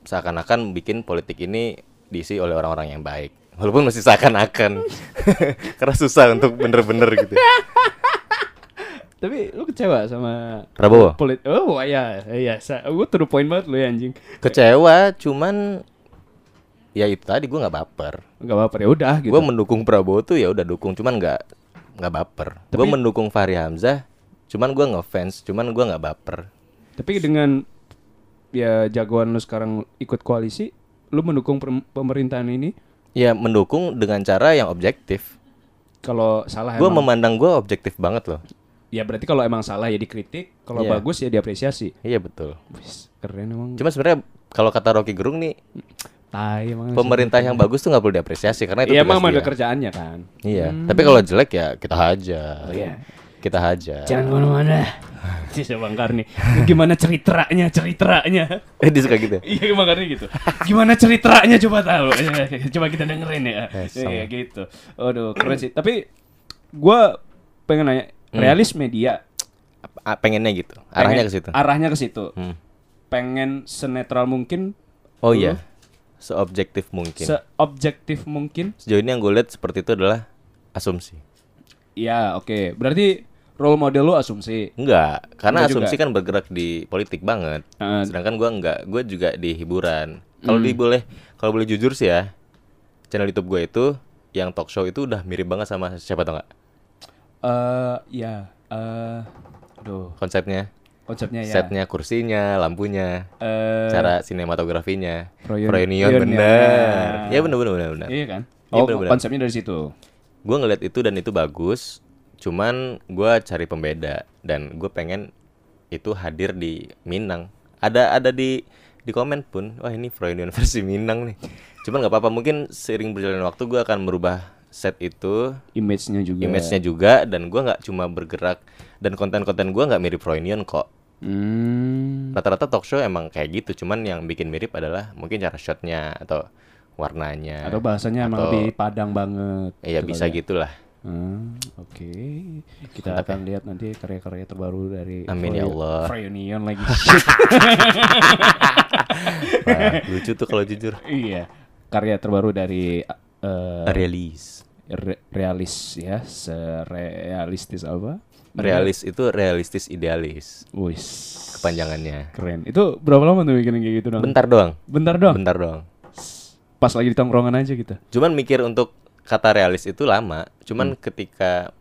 seakan-akan bikin politik ini diisi oleh orang-orang yang baik walaupun masih seakan-akan karena susah untuk bener-bener gitu
Tapi lu kecewa sama
Prabowo
polit? Oh iya iya. Gue to the point banget lu ya anjing.
kecewa cuman ya itu tadi gua nggak baper
Gak baper ya udah gitu.
Gua mendukung Prabowo tuh ya udah dukung cuman nggak nggak baper Gua mendukung Fahri Hamzah cuman gua ngefans cuman gua nggak baper
Tapi dengan ya jagoan lu sekarang ikut koalisi, lu mendukung pem- pemerintahan ini
ya mendukung dengan cara yang objektif
kalau salah
Gua
Ah, emang-
memandang gua objektif banget loh
ya berarti kalau emang salah ya dikritik, kalau
Iya.
bagus ya diapresiasi.
iya betul
Wis, keren emang.
Cuma sebenarnya kalau kata Rocky Gerung nih
Tai emang.
pemerintah yang bagus tuh nggak perlu diapresiasi karena itu
Iya
tugas
emang ada
dia.
kerjaannya kan.
Iya. Tapi kalau jelek ya kita hajar. Kita hajar.
Iya. Jangan kemana-mana. Si Bang Karni, gimana ceritanya, ceritanya?
Eh dia suka gitu.
Iya Bang Karni gitu. Gimana ceritanya coba tahu. coba kita dengerin ya. Iya
Eh, sama.
gitu. Aduh, keren sih. Tapi gua pengen nanya, realis media
A- Pengennya gitu. Hmm. Arahnya
pengen-
ke situ.
Arahnya ke situ.
Hmm.
Pengen senetral mungkin,
Oh iya. Seobjektif mungkin.
seobjektif mungkin.
Sejauh ini yang gue lihat seperti itu adalah asumsi.
Ya, oke. Berarti role model lu asumsi.
Enggak, karena
Enggak juga. Ah.
asumsi kan bergerak di politik banget.
Heeh.
Sedangkan gua enggak, gue juga di hiburan. Kalau di boleh, kalau boleh jujur sih ya, channel YouTube gue itu yang talk show itu udah mirip banget sama siapa tau nggak
Eh, ya. Eh, aduh,
konsepnya?
konsepnya ya.
setnya kursinya lampunya
Eh,
cara sinematografinya
Proyon-
Proyonion
Proyon,
bener
ya.
ya bener bener bener, bener.
iya kan?
Iya,
Oh,
benar-benar.
konsepnya dari situ.
gue ngeliat itu dan itu bagus cuman gua cari pembeda dan gue pengen itu hadir di Minang ada ada di di komen pun wah ini Proyonion versi Minang nih cuman nggak apa-apa mungkin seiring berjalannya waktu gua akan merubah set itu
Image-nya juga.
image-nya juga dan gua nggak cuma bergerak dan konten-konten gua nggak mirip Proyonion kok
Hmm.
rata-rata talk show emang kayak gitu cuman yang bikin mirip adalah mungkin cara shotnya atau warnanya
Atau bahasanya emang lebih padang banget.
ya bisa gitulah
Hmm, Oke, kita akan lihat nanti karya-karya terbaru dari
ya. Amin ya Allah.
Freyonion lagi.
Wah, lucu tuh kalau jujur
iya, karya terbaru dari eh,
realis
re- realis ya, serealistis apa?
realis itu realistis idealis
Wis,
kepanjangannya
keren. Itu berapa lama tuh mikirin kayak gitu dong?
bentar doang
Bentar doang.
bentar doang
Pas lagi di tongkrongan aja gitu.
cuman mikir untuk kata realis itu lama cuman ketika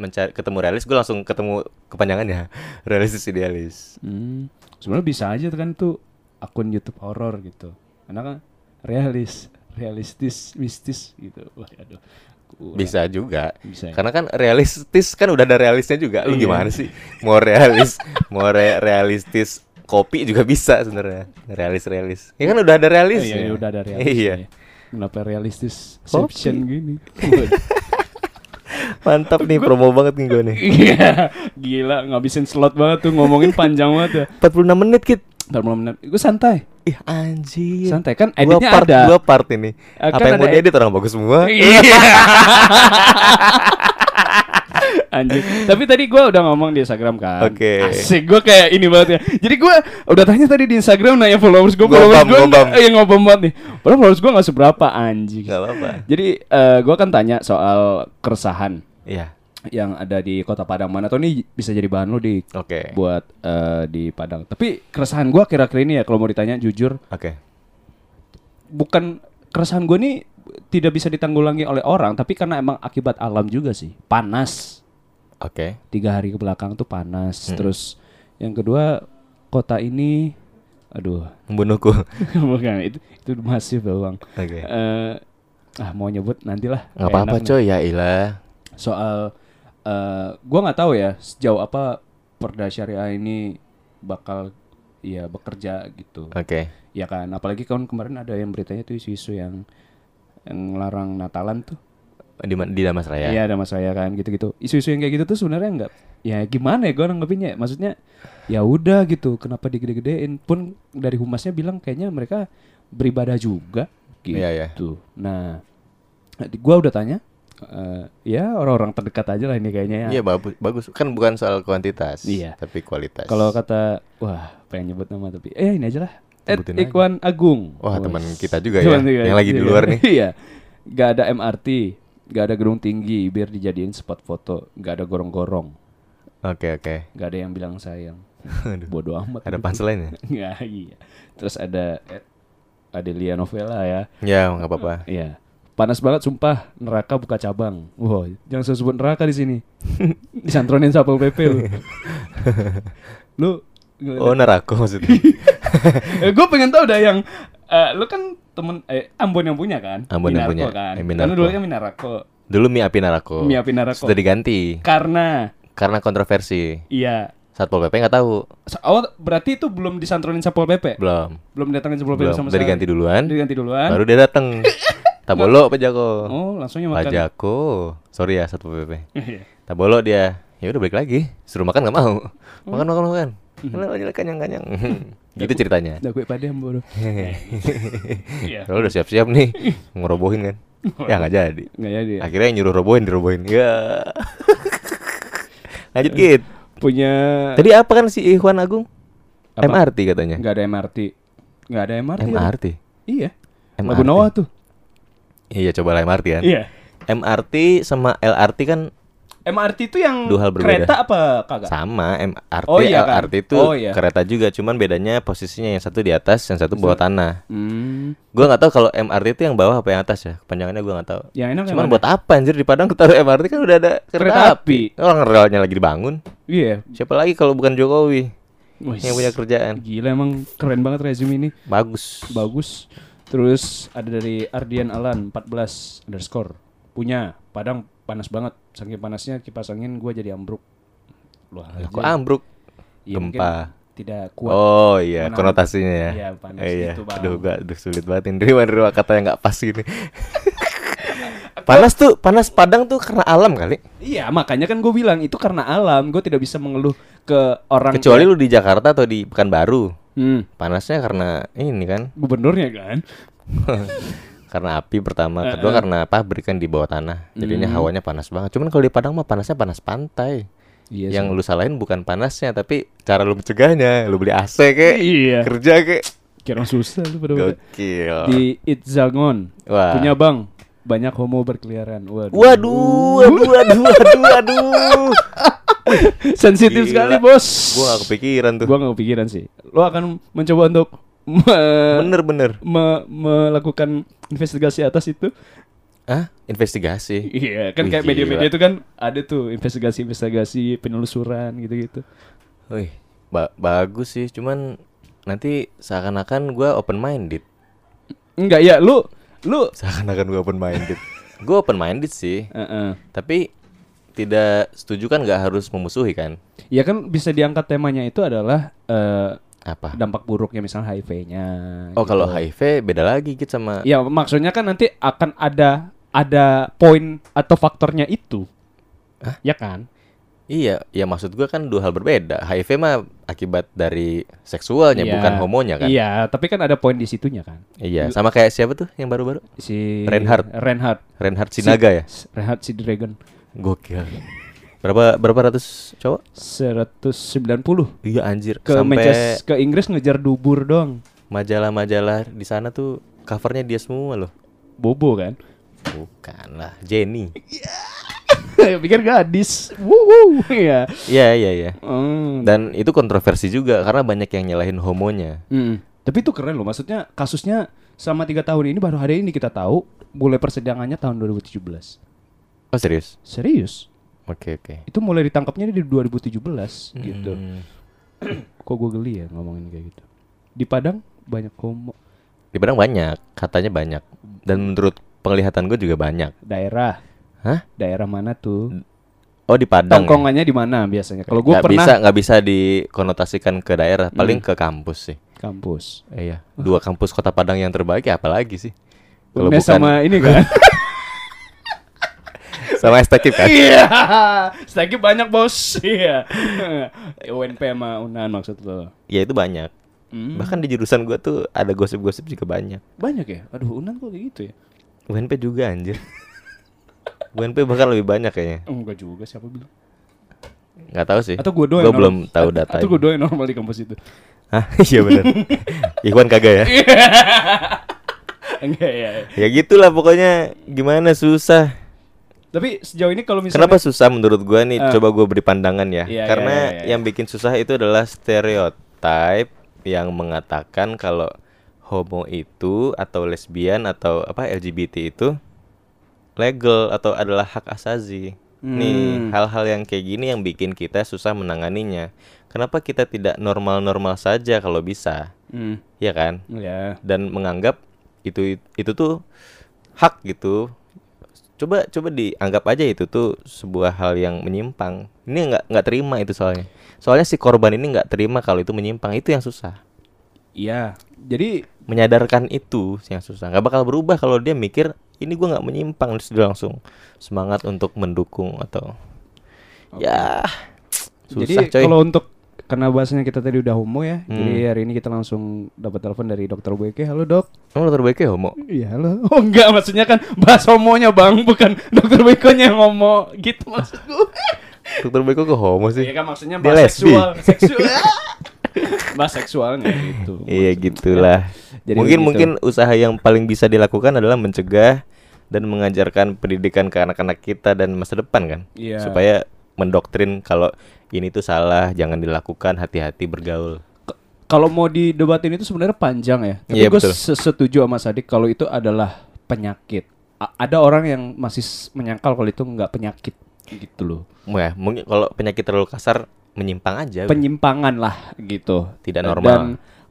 mencari ketemu realis gue langsung ketemu kepanjangannya realistis idealis
Hmm. Sebenarnya bisa aja tuh kan tuh akun YouTube horor gitu. Karena kan realis, realistis, mistis gitu. Wah, aduh. Kurang.
bisa juga
Bisa ya? Iya.
karena kan realistis kan udah ada realisnya juga lu gimana sih mau realis mau re- realistis kopi juga bisa sebenarnya realis realis ya kan udah ada realis
Iya, iya, udah ada realis.
iya
Iya. Kenapa realistis Inception gini?
Mantap nih promo banget nih gue nih.
Iya, gila ngabisin slot banget tuh ngomongin panjang banget ya.
46 menit kit.
Bentar, belum bener. Gue santai,
Ih anjir.
santai kan
Dua
editnya
part,
ada.
dua part ini.
Eh,
Apa yang
kan
mau
ada
diedit orang bagus semua.
Iya. Anjir. Tapi tadi gua udah ngomong di Instagram kan.
Oke.
Asik gua kayak ini banget ya. Jadi gua udah tanya tadi di Instagram nanya followers gua,
Ngobam,
followers gua
ngobam.
eh, ngobam banget nih. Padahal followers gua nggak seberapa anjing.
Gak apa-apa.
Jadi eh, gua kan tanya soal keresahan
Iya.
yang ada di Kota Padang mana tuh ini bisa jadi bahan lu di
Oke.
buat eh, di Padang. Tapi keresahan gua akhir-akhir ini ya kalau mau ditanya jujur
Oke.
bukan keresahan gue nih tidak bisa ditanggulangi oleh orang tapi karena emang akibat alam juga sih panas
Oke.
tiga hari ke belakang tuh panas terus yang kedua kota ini aduh
Membunuhku. Oke.
bukan itu itu masif ya bang Eh, ah mau nyebut nantilah
Gak apa-apa
Enak nih.
coy ya ilah.
soal eh gue nggak tahu ya sejauh apa perda syariah ini bakal ya bekerja gitu
Oke.
ya kan apalagi kan kemarin ada yang beritanya tuh isu-isu yang yang larang Natalan tuh
Di mana di Damasraya.
Iya ada mas saya kan gitu-gitu. Isu-isu yang kayak gitu tuh sebenarnya nggak ya gimana ya gue nanggepinnya. Maksudnya ya udah gitu. Kenapa digede-gedein pun dari humasnya bilang kayaknya mereka beribadah juga gitu.
Iya, iya.
Nah, gue udah tanya eh, ya orang-orang terdekat aja lah ini kayaknya ya.
Iya bagus bagus kan bukan soal kuantitas
Iya.
tapi kualitas.
Kalau kata wah pengen nyebut nama tapi eh ini aja lah. Ed
Sebutin aja.
Ikwan Agung.
Wah, teman kita juga
Teman
ya,
kita
yang lagi di
juga.
luar nih.
iya. Gak ada MRT, gak ada gedung tinggi biar dijadiin spot foto, gak ada gorong-gorong,
Oke oke.
gak ada yang bilang sayang.
Aduh,
Bodoh amat.
Ada punchline ya?
Nggak, iya. Terus ada Ed Adelia Novela ya.
Ya nggak apa-apa.
Iya. Panas banget sumpah, neraka buka cabang. Wow, jangan saya sebut neraka di sini. Disantronin Satpol PP lu. lu
Oh narako maksudnya.
eh, gue pengen tahu dah yang eh, lu kan temen eh, Ambon yang punya kan?
Ambon yang
Minarko
punya,
kan.
eh,
Karena
Minarko.
dulu kan Minarko.
Dulu mie api narako.
Mie api narako.
Sudah diganti
Karena
karena kontroversi.
iya.
Satpol PP nggak tahu.
So- Oh, berarti itu belum disantronin Satpol PP?
Belum.
Belum datangin Satpol PP
Belum.
sama
Sudah diganti duluan.
Diganti duluan.
Baru dia datang. Tabolo Pak Jako.
Oh, langsungnya
Pak
makan.
Jako. Sorry ya Satpol PP.
Iya.
Tabolo dia. Ya udah balik lagi. Suruh makan nggak
Oh.
mau. Makan makan makan.
Hmm.
Makan aja lah, kanyang kanyang. gitu ceritanya.
Dah gue pada yang bodoh. Iya.
Kalau udah siap-siap nih ngerobohin kan. Ya nggak jadi.
Nggak jadi. ya?
Akhirnya yang nyuruh robohin dirobohin. Ya. Lanjut Git.
Punya
Tadi apa kan si Ikhwan Agung?
Nah. Apa?
MRT katanya.
nggak ada MRT. Nggak ada MRT.
MRT.
Iya.
MRT.
Lagu Noah tuh.
Iya coba lah MRT kan.
Iya.
MRT sama LRT kan
MRT itu yang
Dua hal berbeda.
kereta apa kagak?
sama. MRT
Oh, iya kan?
LRT itu
Oh, iya.
kereta juga, cuman bedanya posisinya yang satu di atas, yang satu bawah tanah.
Hmm.
Gua nggak tahu kalau MRT itu yang bawah apa yang atas ya. Kepanjangannya gua nggak tahu.
Yang Ya, enak
Cuman
yang
buat apa anjir di Padang ketaruh MRT kan udah ada kereta,
Kereta
api. Orang relnya lagi dibangun.
mana? Iya.
Siapa lagi kalau bukan Jokowi
Wih,
yang punya kerjaan?
Gila emang keren banget resume ini.
Bagus.
Bagus. Terus ada dari Ardian Alan 14 underscore. Punya Padang panas banget. Saking panasnya kipas angin gua jadi ambruk. Wah,
Lah, kok ambruk?
iya, mungkin
gempa.
Tidak kuat.
Oh iya,
Menahan.
konotasinya ya.
Iya, panas
Eh, iya.
gitu, Bang.
Aduh, gua aduh, sulit banget ini. Dari mana kata yang nggak pas gini. panas tuh, panas Padang tuh karena alam kali.
Iya, makanya kan gue bilang itu karena alam. Gue tidak bisa mengeluh ke orang
Kecuali lu di Jakarta atau di Pekanbaru.
Hmm,
Panasnya karena ini kan,
gubernurnya kan.
karena api pertama, kedua karena pabrik kan di bawah tanah. Jadinya
Hmm.
hawanya panas banget. Cuman kalau di Padang mah panasnya panas pantai.
Iya.
yang lu salahin bukan panasnya tapi cara lu mencegahnya. Lu beli AC kek,
Iya.
kerja kek.
Kira susah lu pada
Gokil.
Di Itzagon.
Wah.
Punya Bang. Banyak homo berkeliaran. Waduh.
Waduh, waduh, waduh, waduh, waduh.
Sensitif
Gila.
sekali, Bos.
Gua gak kepikiran tuh.
Gua nggak kepikiran sih. Lo akan mencoba untuk me-
Bener-bener.
me- melakukan investigasi atas itu.
Hah? Investigasi.
Iya,
Wih,
kan kayak
gila.
media-media itu kan ada tuh investigasi-investigasi penelusuran gitu-gitu.
Wih, ba- bagus sih, cuman nanti seakan-akan gua open minded.
Enggak ya, lu lu
Seakan-akan gua open minded. gua open minded sih,
Heeh.
tapi tidak setuju kan nggak harus memusuhi kan?
Ya kan bisa diangkat temanya itu adalah eh,
Apa?
dampak buruknya misalnya HIV-nya.
Oh
gitu.
kalau HIV beda lagi gitu sama
Ya maksudnya kan nanti akan ada ada poin atau faktornya itu. Ya kan?
Iya, ya maksud gua kan dua hal berbeda. HIV mah akibat dari seksualnya
Iya.
bukan homonya kan.
Iya, tapi kan ada poin di situnya kan.
Iya, sama kayak siapa tuh yang baru-baru?
Si
Reinhardt.
Reinhardt.
Reinhard Sinaga ya.
S- Reinhardt si Dragon
Gokil. Berapa berapa ratus cowok?
190
Iya anjir.
ke
Sampai
Manchester ke Inggris ngejar dubur doang.
majalah-majalah di sana tuh covernya dia semua loh.
Bobo kan.
Bukan lah, Jenny.
Ya, Pikir gadis. Wuhu. Iya.
Iya, iya, iya.
Hmm.
Dan itu kontroversi juga karena banyak yang nyalahin homonya.
Mm. Tapi itu keren loh, maksudnya kasusnya sama tiga tahun ini baru hari ini kita tahu mulai persidangannya tahun 2017.
Oh serius?
Serius?
Oke, oke.
Itu mulai ditangkapnya di 2017 gitu.
Hmm.
Kok gue geli ya ngomongin kayak gitu. Di Padang banyak homo
Di Padang banyak, katanya banyak. Dan menurut penglihatan gue juga banyak.
daerah.
Hah?
Daerah mana tuh?
Oh di Padang. ya?
Tongkongannya di mana biasanya? Kalau gue
Nggak
pernah Hmm.
bisa nggak bisa dikonotasikan ke daerah, paling ke kampus sih.
kampus.
Iya. Dua kampus Kota Padang yang terbaik ya apalagi sih? Kalau
Unes
bukan sama,
sama ini kan?
sama STKIP kan?
Iya. Stagi banyak bos. Iya. UNP sama UNAN maksud lo.
ya itu banyak.
Hmm.
Bahkan di jurusan gua tuh ada gosip-gosip juga banyak.
Banyak ya? Aduh, UNAN kok kayak gitu ya?
UNP juga anjir. UNP bahkan lebih banyak kayaknya.
Enggak juga siapa bilang?
nggak tahu sih.
Atau gue doang
Eh, Gua
yang
belum
normal.
tahu
Atau-
data.
Atau gue doang yang normal di kampus itu
Hah? Iya benar. Ikhwan kagak ya?
Enggak ya
Ya gitulah pokoknya gimana susah.
Tapi sejauh ini kalau misalnya
Kenapa susah menurut gua nih? Coba gua beri pandangan ya.
Iya,
Karena
iya, iya, iya.
yang bikin susah itu adalah stereotip yang mengatakan kalau homo itu atau lesbian atau apa LGBT itu legal atau adalah hak asasi.
Hmm.
Nih, hal-hal yang kayak gini yang bikin kita susah menanganinya. Kenapa kita tidak normal-normal saja kalau bisa?
Hmm,
Ya kan?
Ya
dan menganggap itu itu tuh hak gitu coba coba dianggap aja itu tuh sebuah hal yang menyimpang ini nggak nggak terima itu soalnya soalnya si korban ini nggak terima kalau itu menyimpang itu yang susah
Iya Jadi
menyadarkan itu yang susah nggak bakal berubah kalau dia mikir ini gua nggak menyimpang terus dia langsung semangat untuk mendukung atau ya
Jadi
susah coy
kalau untuk Karena bahasanya kita tadi udah homo ya Jadi hari ini kita langsung dapat telepon dari dokter Boyke Halo dok
Emang lo terbaiknya homo
Iya halo Oh enggak maksudnya kan Bahas homonya bang Bukan dokter Boykonya yang homo Gitu maksud gue
dokter baiknya kok homo sih
Iya kan maksudnya
Dia
bahas
lesbi.
seksual Seksual Bahas seksualnya gitu
Iya gitulah.
Jadi
mungkin
begitu.
mungkin usaha yang paling bisa dilakukan adalah mencegah dan mengajarkan pendidikan ke anak-anak kita dan masa depan kan.
Iya.
Supaya mendoktrin kalau ini tuh salah, jangan dilakukan, hati-hati bergaul.
K- kalau mau didebatin itu sebenarnya panjang ya. Tapi
Iya,
gue
betul.
se- setuju sama Sadik kalau itu adalah penyakit. A- ada orang yang masih s- menyangkal kalau itu nggak penyakit gitu loh.
Ya, mungkin kalau penyakit terlalu kasar menyimpang aja.
Penyimpangan lah gitu.
Tidak
Dan
Iya. normal.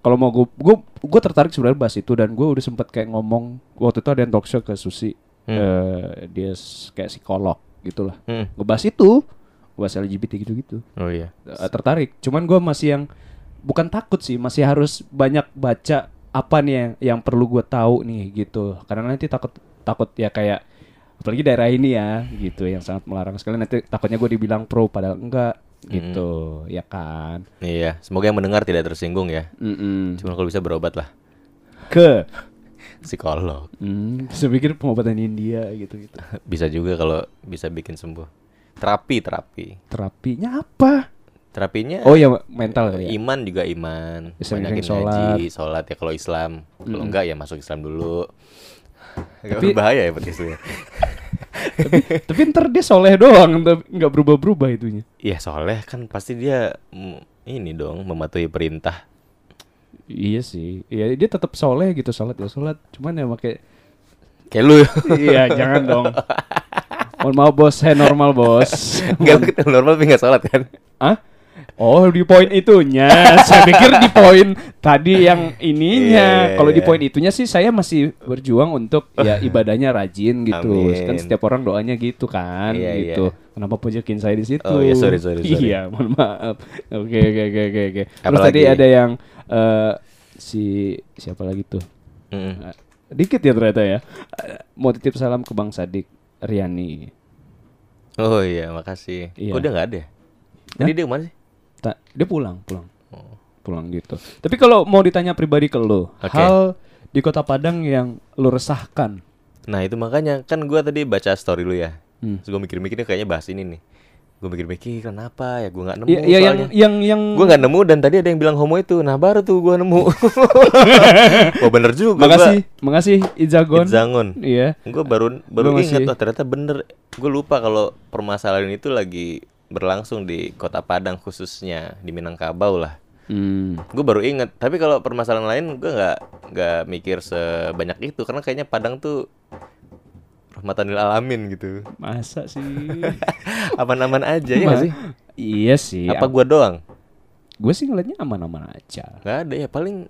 kalau mau gue gue gue tertarik sebenarnya bahas itu dan gue udah sempet kayak ngomong waktu itu ada yang talk show ke Susi Eh, dia s- kayak psikolog gitulah.
Hmm.
Ngebahas itu, bahas LGBT gitu-gitu.
Oh iya.
eh, tertarik. Cuman gue masih yang bukan takut sih, masih harus banyak baca apa nih yang yang perlu gue tahu nih gitu. Karena nanti takut takut ya kayak apalagi daerah ini ya gitu yang sangat melarang sekali nanti takutnya gue dibilang pro padahal enggak gitu ya kan
Iya, semoga yang mendengar tidak tersinggung ya.
Mm-mm.
Cuma kalau bisa berobat lah
ke
psikolog.
mm, saya pikir pengobatan India gitu gitu
Bisa juga kalau bisa bikin sembuh. Terapi, terapi.
terapinya apa
Terapinya
oh ya mental kali ya
Iman juga iman.
Sering-sering
Banyakin ngaji, sholat ya kalau Islam. Kalau enggak ya masuk Islam dulu. Agak
Tapi-
berbahaya ya podcast ini.
tapi, tapi ntar dia soleh doang tapi nggak berubah berubah itunya
Iya soleh kan pasti dia mm, ini dong mematuhi perintah.
Iya sih. Iya dia tetap soleh gitu salat ya salat. Cuman ya pakai
Kayak lu.
Iya, jangan dong. Mohon maaf bos, saya normal bos.
Enggak kita normal tapi enggak sholat kan?
Hah? Oh di poin itunya, saya pikir di poin tadi yang ininya.
Iya, iya,
Kalau di
iya.
poin itunya sih saya masih berjuang untuk ya ibadahnya rajin gitu.
Amin.
Kan setiap orang doanya gitu kan,
Iya,
gitu.
iya.
Kenapa pujakin saya di situ?
Oh, iya, sorry, sorry, sorry.
Iya mohon maaf. Oke oke oke oke. oke. Terus
Apalagi?
tadi ada yang eh, si siapa lagi tuh?
Mm.
Eh, Dikit ya ternyata ya. Eh, Mau titip salam ke Bang Sadik Riani.
Oh iya, makasih.
Iya.
Oh, udah nggak ada. ya? Tadi dia kemana sih?
Ta- dia pulang, pulang. Pulang gitu. Tapi kalau mau ditanya pribadi ke lo,
Oh. Oke.
hal di Kota Padang yang lo resahkan.
Nah itu makanya kan gua tadi baca story lu ya.
Hmm.
Terus gue mikir-mikir ini kayaknya bahas ini nih. Gue mikir-mikir kenapa ya gua nggak nemu
Iya, iya, yang
soalnya.
yang yang
Gue nggak nemu dan tadi ada yang bilang homo itu. Nah baru tuh gua nemu. Wah bener juga. gua-
makasih, makasih Izagon.
Zangon.
Iya.
Gue baru baru
Gua
ingat
masih-
oh, ternyata bener. Gue lupa kalau permasalahan itu lagi berlangsung di Kota Padang khususnya di Minangkabau lah.
Hmm.
Gue baru inget. Tapi kalau permasalahan lain gue nggak nggak mikir sebanyak itu karena kayaknya Padang tuh rahmatan lil alamin gitu.
Masa sih?
Aman-aman aja ya nggak sih?
iya sih.
Apa gua doang?
Gue sih ngeliatnya aman-aman aja.
Nggak ada ya paling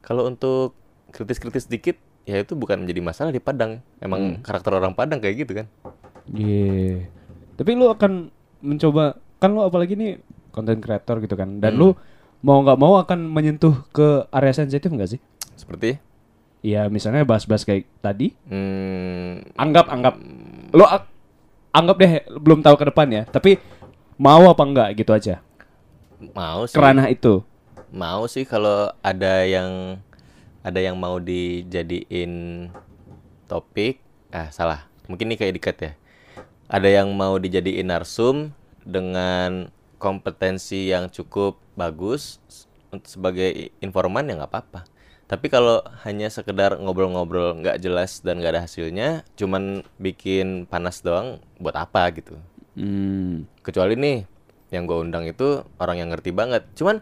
kalau untuk kritis-kritis dikit ya itu bukan menjadi masalah di Padang. Emang karakter orang Padang kayak gitu kan?
Iya. Tapi lu akan mencoba kan lu apalagi nih konten kreator gitu kan. Dan lu mau nggak mau akan menyentuh ke area sensitif nggak sih?
Seperti
Iya, misalnya bahas-bahas kayak tadi.
hmm,
Anggap anggap lu ak- anggap deh belum tahu ke depan ya. Tapi mau apa enggak gitu aja.
mau sih.
Kerana itu.
Mau sih kalau ada yang ada yang mau dijadiin topik. Ah, salah. Mungkin ini kayak dekat ya. Ada yang mau dijadiin narsum dengan kompetensi yang cukup bagus s- untuk sebagai i- informan ya nggak apa-apa. Tapi kalau hanya sekedar ngobrol-ngobrol nggak jelas dan nggak ada hasilnya, cuman bikin panas doang buat apa gitu
Hmm.
kecuali nih yang gue undang itu orang yang ngerti banget cuman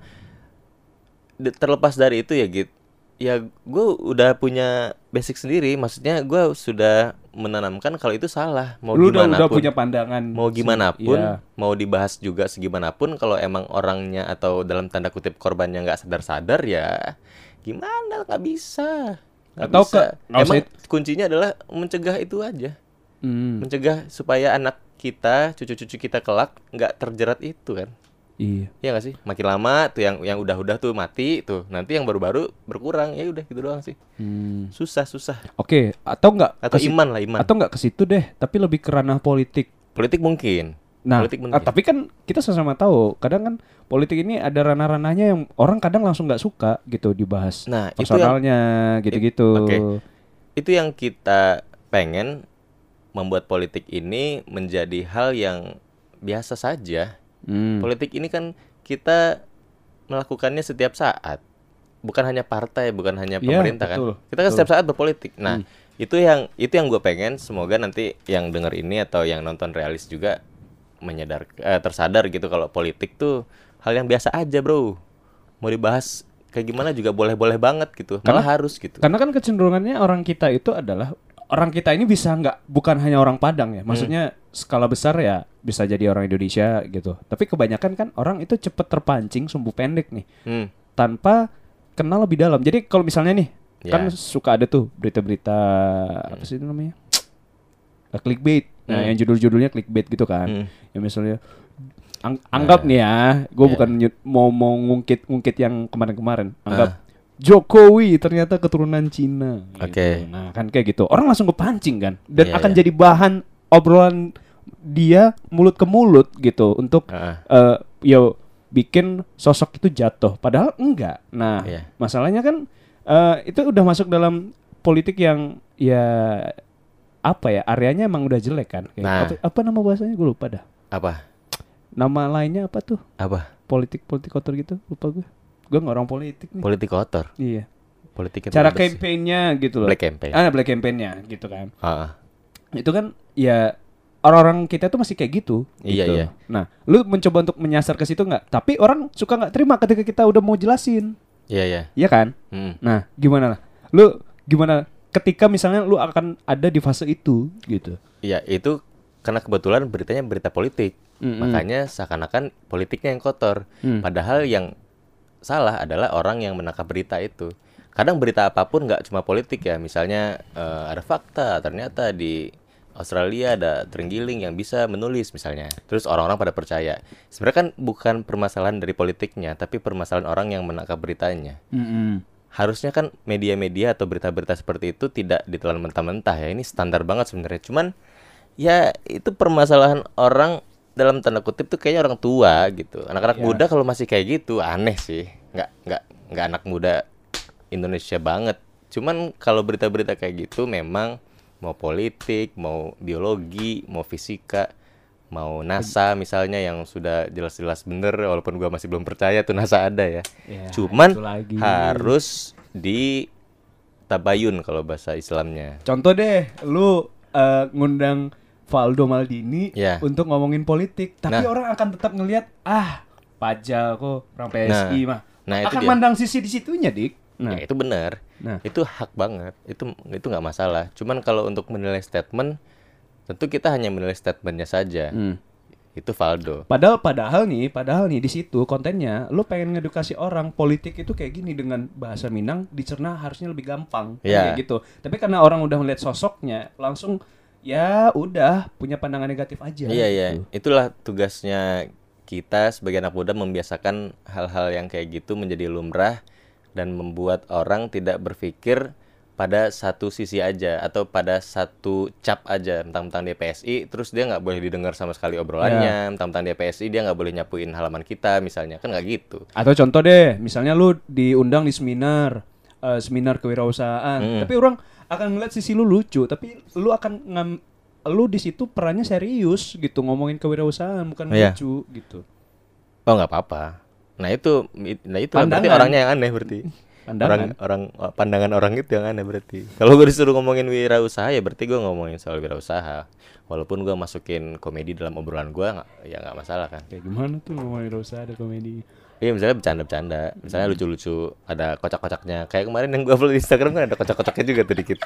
de- terlepas dari itu ya git ya gue udah punya basic sendiri maksudnya gue sudah menanamkan kalau itu salah mau
Lu udah,
gimana
udah
pun
punya pandangan.
mau gimana pun
Iya.
mau dibahas juga segimanapun kalau emang orangnya atau dalam tanda kutip korbannya nggak sadar-sadar ya gimana nggak bisa Nggak
Atau
bisa.
ke- nggak usah
emang kuncinya adalah mencegah itu aja
Hmm.
mencegah supaya anak kita, cucu-cucu kita kelak nggak terjerat itu kan.
Iya.
Iya nggak sih? Makin lama tuh yang yang udah-udah tuh mati tuh. Nanti yang baru-baru berkurang. Ya udah gitu doang sih.
Hmm.
Susah, susah.
Oke, atau enggak
Atau
ke si-
iman lah, iman.
atau enggak ke situ deh, tapi lebih ke ranah politik.
Politik mungkin.
Nah,
politik
ah, tapi kan kita sama-sama tahu, kadang kan politik ini ada ranah-ranahnya yang orang kadang langsung nggak suka gitu dibahas.
Nah, itu yang
personalnya gitu-gitu.
Oke. itu yang kita pengen membuat politik ini menjadi hal yang biasa saja.
Hmm.
Politik ini kan kita melakukannya setiap saat. Bukan hanya partai, bukan hanya
Iya,
pemerintah kan.
betul,
Kita kan
betul. Hmm.
setiap saat berpolitik. Nah, itu yang itu yang gue pengen semoga nanti yang denger ini atau yang nonton realis juga menyadar eh, tersadar gitu kalau politik tuh hal yang biasa aja, Bro. Mau dibahas kayak gimana juga boleh-boleh banget gitu. Malah harus gitu.
Karena kan kecenderungannya orang kita itu adalah orang kita ini bisa nggak bukan hanya orang Padang ya, maksudnya
Hmm.
skala besar ya bisa jadi orang Indonesia gitu. Tapi kebanyakan kan orang itu cepet terpancing sumbu pendek nih.
Hmm.
tanpa kenal lebih dalam. Jadi kalau misalnya nih,
Ya.
kan suka ada tuh berita-berita apa sih itu namanya? Eh, clickbait. Nah,
Hmm.
yang judul-judulnya clickbait gitu kan. Ya misalnya ang-
Nah.
anggap nih ya, gue bukan nyu- mau mau ngungkit-ngungkit yang kemarin-kemarin.
Ah.
Anggap Jokowi ternyata keturunan Cina. gitu.
Oke.
Nah, kan kayak gitu. Orang langsung kepancing kan dan
Iya,
akan
iya.
jadi bahan obrolan dia mulut ke mulut gitu untuk
Heeh.
eh yo bikin sosok itu jatuh padahal enggak nah
Iya.
masalahnya kan eh, itu udah masuk dalam politik yang ya apa ya areanya emang udah jelek kan Kayak
Nah.
apa, apa nama bahasanya gue lupa dah
Apa?
nama lainnya apa tuh
Apa?
politik politik kotor gitu lupa gue gue nggak orang politik nih
Politik kotor.
iya
Politik yang
cara
tidak bersih.
kampanyenya gitu loh
black campaign.
ah black campaign-nya gitu kan
Heeh.
itu kan ya orang-orang kita tuh masih kayak gitu.
Iya,
gitu.
iya.
Nah, lu mencoba untuk menyasar ke situ nggak? Tapi orang suka nggak terima ketika kita udah mau jelasin,
Iya, iya.
Iya kan?
Hmm.
Nah, gimana lah? Lu gimana ketika misalnya lu akan ada di fase itu gitu?
Iya, itu karena kebetulan beritanya berita politik
Mm-mm.
makanya seakan-akan politiknya yang kotor
Mm.
padahal yang salah adalah orang yang menangkap berita itu kadang berita apapun nggak cuma politik ya misalnya eh, ada fakta ternyata di Australia ada terenggiling yang bisa menulis misalnya terus orang-orang pada percaya sebenarnya kan bukan permasalahan dari politiknya tapi permasalahan orang yang menangkap beritanya
Mm-mm.
harusnya kan media-media atau berita-berita seperti itu tidak ditelan mentah-mentah ya ini standar banget sebenarnya cuman ya itu permasalahan orang dalam tanda kutip tuh kayaknya orang tua gitu anak-anak
Iya.
muda kalau masih kayak gitu aneh sih nggak nggak nggak anak muda Indonesia banget cuman kalau berita-berita kayak gitu memang mau politik mau biologi mau fisika mau NASA misalnya yang sudah jelas-jelas bener walaupun gua masih belum percaya tuh NASA ada ya
Ya,
cuman
itu lagi.
harus di tabayun kalau bahasa Islamnya
Contoh deh, lu eh, ngundang Valdo Maldini
Ya.
untuk ngomongin politik, tapi
Nah.
orang akan tetap ngelihat ah pajak kok orang PSI
Nah.
mah.
Nah, itu
akan
dia.
mandang sisi di situnya, Dik. Nah,
ya itu benar
Nah.
itu hak banget itu itu nggak masalah cuman kalau untuk menilai statement tentu kita hanya menilai statementnya saja
Hmm.
itu Valdo
Padahal padahal nih, padahal nih di situ kontennya lu pengen ngedukasi orang politik itu kayak gini dengan bahasa Minang dicerna harusnya lebih gampang Kan
Iya.
kayak gitu. Tapi karena orang udah melihat sosoknya langsung ya udah punya pandangan negatif aja.
iya iya
gitu.
itulah tugasnya kita sebagai anak muda membiasakan hal-hal yang kayak gitu menjadi lumrah dan membuat orang tidak berpikir pada satu sisi aja atau pada satu cap aja tentang dia PSI terus dia nggak boleh didengar sama sekali obrolannya
Iya.
tentang dia PSI dia nggak boleh nyapuin halaman kita misalnya kan nggak gitu
Atau contoh deh, misalnya lu diundang di seminar eh, seminar kewirausahaan, tapi orang akan ngeliat sisi lu lucu, tapi lu akan ngam- lu di situ perannya serius gitu ngomongin kewirausahaan bukan
Iya.
lucu gitu.
oh nggak apa-apa nah itu nah itu berarti
Pandangan.
orangnya yang aneh berarti
Pandangan.
orang orang pandangan orang itu yang aneh berarti kalau gue disuruh ngomongin wirausaha ya berarti gue ngomongin soal wirausaha walaupun gue masukin komedi dalam obrolan gue nggak ya nggak masalah kan
Kayak gimana tuh ngomongin kewirausahaan ada komedi?
iya misalnya bercanda-bercanda misalnya
Hmm.
lucu-lucu ada kocak-kocaknya kayak kemarin yang gue upload di Instagram kan ada kocak-kocaknya juga tuh dikit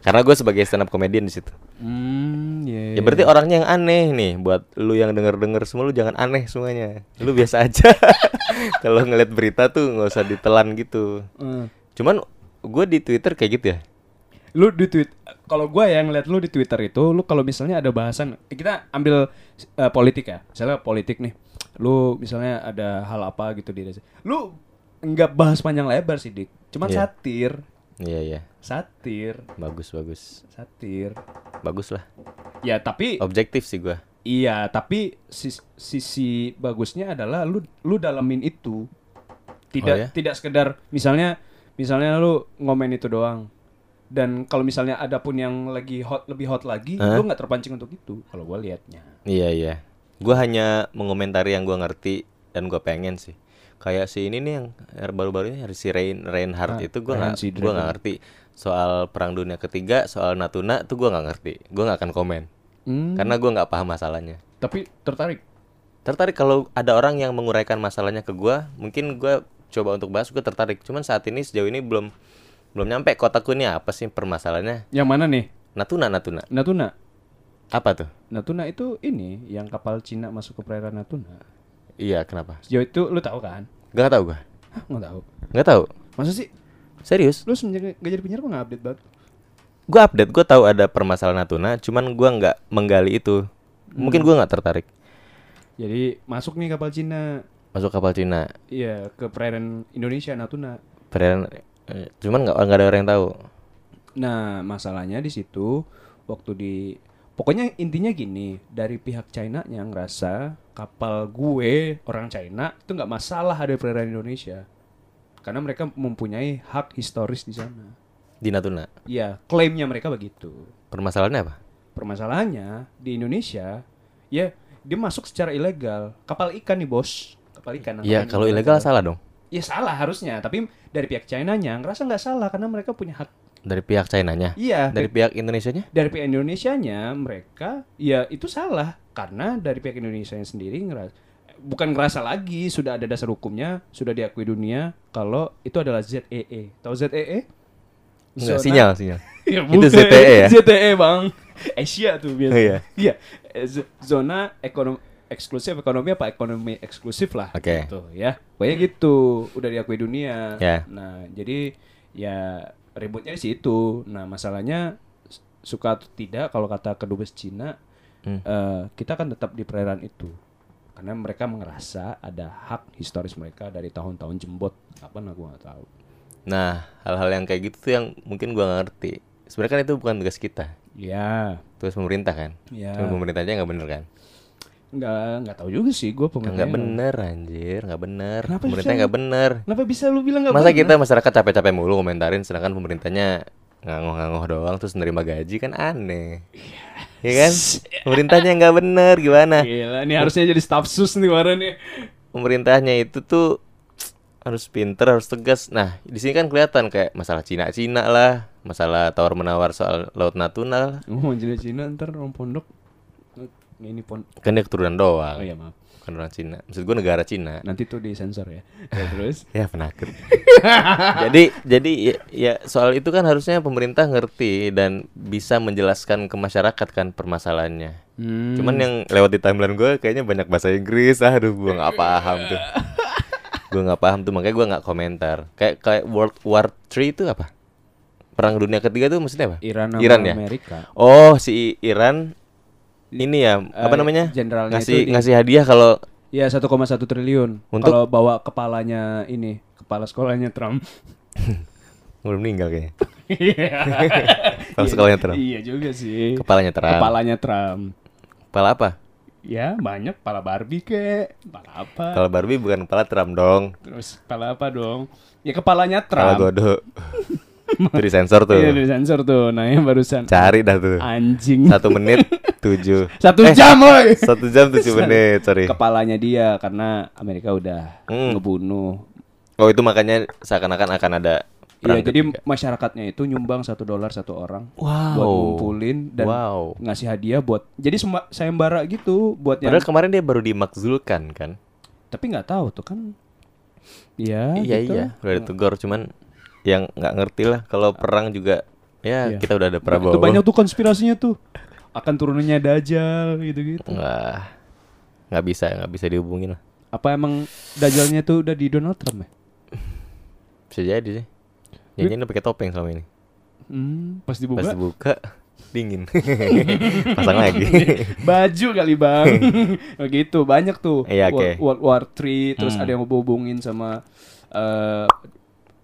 karena gue sebagai stand up comedian di situ
Hmm,
ya
iya.
berarti orangnya yang aneh nih buat lu yang denger-denger semua lu jangan aneh semuanya lu biasa aja kalau ngeliat berita tuh nggak usah ditelan gitu
Eh,
cuman gue di Twitter kayak gitu ya
lu di tweet kalau gua yang lihat lu di Twitter itu lu kalau misalnya ada bahasan kita ambil eh, politik ya. Misalnya politik nih. Lu misalnya ada hal apa gitu di lu nggak bahas panjang lebar sih Dik. Cuman
Iya.
satir,
Iya iya,
satir,
bagus bagus,
satir.
bagus lah.
Ya tapi
Objektif sih gua.
iya, tapi sis- sisi bagusnya adalah lu lu dalamin itu. Tidak
Oh, ya?
tidak sekedar misalnya misalnya lu ngomen itu doang. Dan kalau misalnya ada pun yang lagi hot lebih hot lagi, lu nggak terpancing untuk itu kalau gua liatnya.
Iya iya. Gua hanya mengomentari yang gua ngerti dan gua pengen sih. Kayak si ini nih yang er- baru-baru ini si Rein Reinhardt
Ah,
itu gua nggak
Rehan Sidre
gua
tuh.
nggak ngerti soal perang dunia ketiga, soal Natuna tuh gua nggak ngerti. Gua nggak akan komen
Hmm,
karena gua nggak paham masalahnya.
tapi tertarik.
Tertarik kalau ada orang yang menguraikan masalahnya ke gua, mungkin gua coba untuk bahas gua tertarik. Cuman saat ini sejauh ini belum belum nyampe kotaku ini apa sih permasalahannya?
Yang mana nih?
Natuna Natuna.
Natuna.
Apa tuh?
Natuna itu ini yang kapal Cina masuk ke perairan Natuna.
Iya, kenapa?
Sejauh itu lu tahu kan?
Gak tau gua
Hah, nggak tahu.
Gak tahu.
Masa sih
Serius?
lu semenjak gak jadi penyiar kok nggak update banget?
Gua update, gua tahu ada permasalahan Natuna, cuman gua nggak menggali itu. Mungkin gua nggak tertarik
Jadi masuk nih kapal Cina
masuk kapal Cina.
Iya ke perairan Indonesia Natuna.
Perairan eh, cuman nggak nggak ada orang yang tahu.
Nah masalahnya di situ waktu di pokoknya intinya gini dari pihak China yang ngerasa kapal gue orang China itu nggak masalah ada di perairan Indonesia karena mereka mempunyai hak historis di sana.
Di Natuna.
Iya klaimnya mereka begitu.
Permasalahannya apa?
Permasalahannya di Indonesia ya dia masuk secara ilegal kapal ikan nih bos kapal ikan.
Iya,
namanya.
kalau ilegal salah dong.
Ya salah harusnya, tapi dari pihak China-nya ngerasa nggak salah karena mereka punya hak.
Dari pihak Chinanya.
Iya, dari
Dari pihak Indonesianya?
dari pihak Indonesianya mereka ya itu salah karena dari pihak Indonesia sendiri ngeras bukan ngerasa lagi sudah ada E dasar hukumnya sudah diakui dunia kalau itu adalah ZEE tahu ZEE
Nggak,
zona-
sinyal, sinyal.
Ya,
Itu
bukan.
ZTE ya?
ZTE E, bang. Asia tuh biasa.
Iya.
Iya. Eh, z- Zona ekonomi eksklusif ekonomi apa ekonomi eksklusif lah.
Oke.
Gitu ya. Pokoknya gitu. Udah diakui dunia.
Ya.
Nah jadi ya ributnya di situ. Nah masalahnya s- suka atau tidak kalau kata kedubes Cina
Hmm.
eh, kita kan tetap di perairan itu karena mereka merasa ada hak historis mereka dari tahun-tahun jembot apa nah gua nggak tahu
Nah, hal-hal yang kayak gitu tuh yang mungkin gua nggak ngerti. Sebenarnya kan itu bukan tugas kita,
ya
tugas pemerintah kan.
ya
Cuma pemerintah aja nggak bener kan?
Nggak, nggak tahu juga sih gue
Nggak
pemerintah.
bener anjir, nggak bener.
Kenapa
pemerintah
bisa?
nggak bener.
Kenapa bisa lu bilang nggak
Masa
bener?
kita masyarakat capek-capek mulu komentarin sedangkan pemerintahnya ngangoh-ngangoh doang terus nerima gaji kan aneh. Iya kan? Pemerintahnya nggak bener gimana?
Gila, ini harusnya jadi staff sus nih kemarin nih.
Pemerintahnya itu tuh harus pinter, harus tegas. Nah, di sini kan kelihatan kayak masalah Cina-Cina lah, masalah tawar-menawar soal Laut Natuna lah.
Oh, jadi Cina ntar orang pondok. Ini pon.
Kan dia keturunan
Oh
doang,
iya maaf.
bukan orang Cina. Maksud gue negara Cina.
Nanti tuh disensor ya. ya terus.
Ya penakut. jadi jadi ya, ya, soal itu kan harusnya pemerintah ngerti dan bisa menjelaskan ke masyarakat kan permasalahannya.
Hmm.
Cuman yang lewat di timeline gue kayaknya banyak bahasa Inggris. Aduh, gue nggak paham tuh. gue nggak paham tuh makanya gue nggak komentar. Kayak kayak World War 3 itu apa? Perang Dunia Ketiga tuh maksudnya apa?
Iran sama
Iran ya.
Amerika.
Oh, si Iran ini ya apa
Eh,
namanya?
jenderalnya
ngasih
itu di-
ngasih hadiah kalau
Ya 1,1 triliun.
Untuk-
Kalau bawa kepalanya ini, kepala sekolahnya Trump.
belum meninggal kayaknya.
Iya.
Kalau sekolahnya Trump.
Iya juga sih.
Kepalanya terang.
Kepalanya Trump.
Kepala apa?
Ya banyak kepala Barbie kek, kepala apa?
Kalau Barbie bukan kepala Trump dong.
Terus kepala apa dong? Ya kepalanya
Kepala
Trump.
Godo. itu disensor tuh.
Iya, di sensor tuh. Nah, yang barusan
Cari dah tuh.
anjing.
Satu menit tujuh.
Satu
Eh,
jam, woy!
Satu jam tujuh menit. Sorry.
Kepalanya dia karena Amerika udah
Hmm.
ngebunuh.
Oh itu makanya seakan-akan akan ada
Iya,
perang.
jadi masyarakatnya itu nyumbang satu dolar satu orang
Wow.
buat ngumpulin dan
Wow.
ngasih hadiah buat. Jadi semba- sayembara gitu buat yang
Padahal kemarin dia baru dimakzulkan kan.
tapi nggak tahu tuh kan. Iya,
iya
gitu.
iya. Udah ditegur cuman yang nggak ngerti lah kalau perang juga ya
Iya.
kita udah ada
Itu
Prabowo.
banyak tuh konspirasinya tuh. Akan turunnya Dajjal gitu-gitu.
Nggak nggak bisa nggak bisa dihubungin lah.
Apa emang Dajjalnya tuh udah di Donald Trump ya?
Bisa jadi sih. Nyanyiin pakai topeng selama ini.
Hmm, pas
Pas
dibuka
dibuka dingin. Pasang lagi.
baju kali bang begitu banyak tuh
Iya,
World-
oke.
World War 3 terus
Hmm.
ada yang hubungin sama eh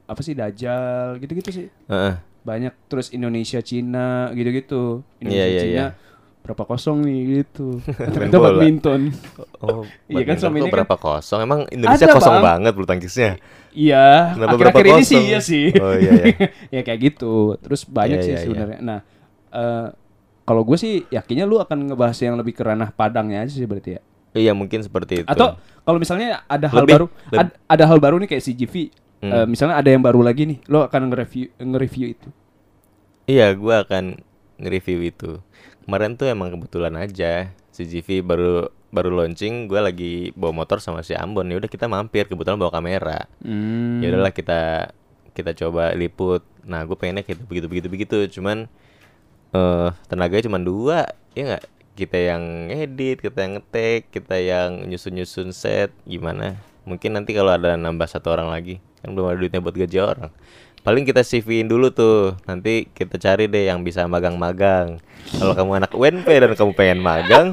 apa sih Dajjal gitu-gitu sih
Heeh.
banyak terus Indonesia Cina gitu-gitu Indonesia
Iya, iya,
Cina
iya.
berapa kosong nih gitu
Main
ternyata
bola.
badminton
Oh,
Iya
badminton
kan, selama
tuh
ini kan-
berapa kosong? Emang Indonesia
Ada,
kosong
Bang.
banget bulu tangkisnya.
iya
Kenapa
akhir-akhir
berapa
ini sih
kosong?
iya sih
Oh, iya, iya.
ya kayak gitu terus banyak
Iya,
sih
iya, iya.
sebenarnya nah eh kalau gue sih yakinnya lu akan ngebahas yang lebih ke ranah Padangnya aja sih berarti ya
Iya mungkin seperti itu.
Atau kalau misalnya ada hal
Lebih-
baru,
lebih.
ad- ada hal baru nih kayak CGV,
Hmm.
eh, misalnya ada yang baru lagi nih, lo akan nge-review nge-review itu.
Iya, gua akan nge-review itu. Kemarin tuh emang kebetulan aja CGV baru baru launching, gua lagi bawa motor sama si Ambon. Ya udah kita mampir, kebetulan bawa kamera.
Hmm.
Ya udahlah kita kita coba liput. Nah, gue pengennya gitu begitu begitu begitu, cuman eh tenaganya cuma dua, ya nggak? Kita yang edit, kita yang ngetek, kita yang nyusun-nyusun set, gimana? Mungkin nanti kalau ada nambah satu orang lagi, kan belum ada duitnya buat gaji orang. Paling kita CV-in dulu tuh, nanti kita cari deh yang bisa magang-magang. Kalau kamu anak UNP dan kamu pengen magang,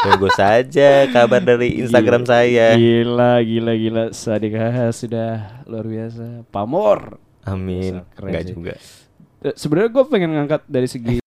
tunggu saja kabar dari
Iya.
Instagram saya.
Gila, gila, gila. Sadika sudah luar biasa. Pamor.
Amin.
Iya, Keren
Enggak
sih.
juga.
Eh, Sebenarnya gue pengen ngangkat dari segi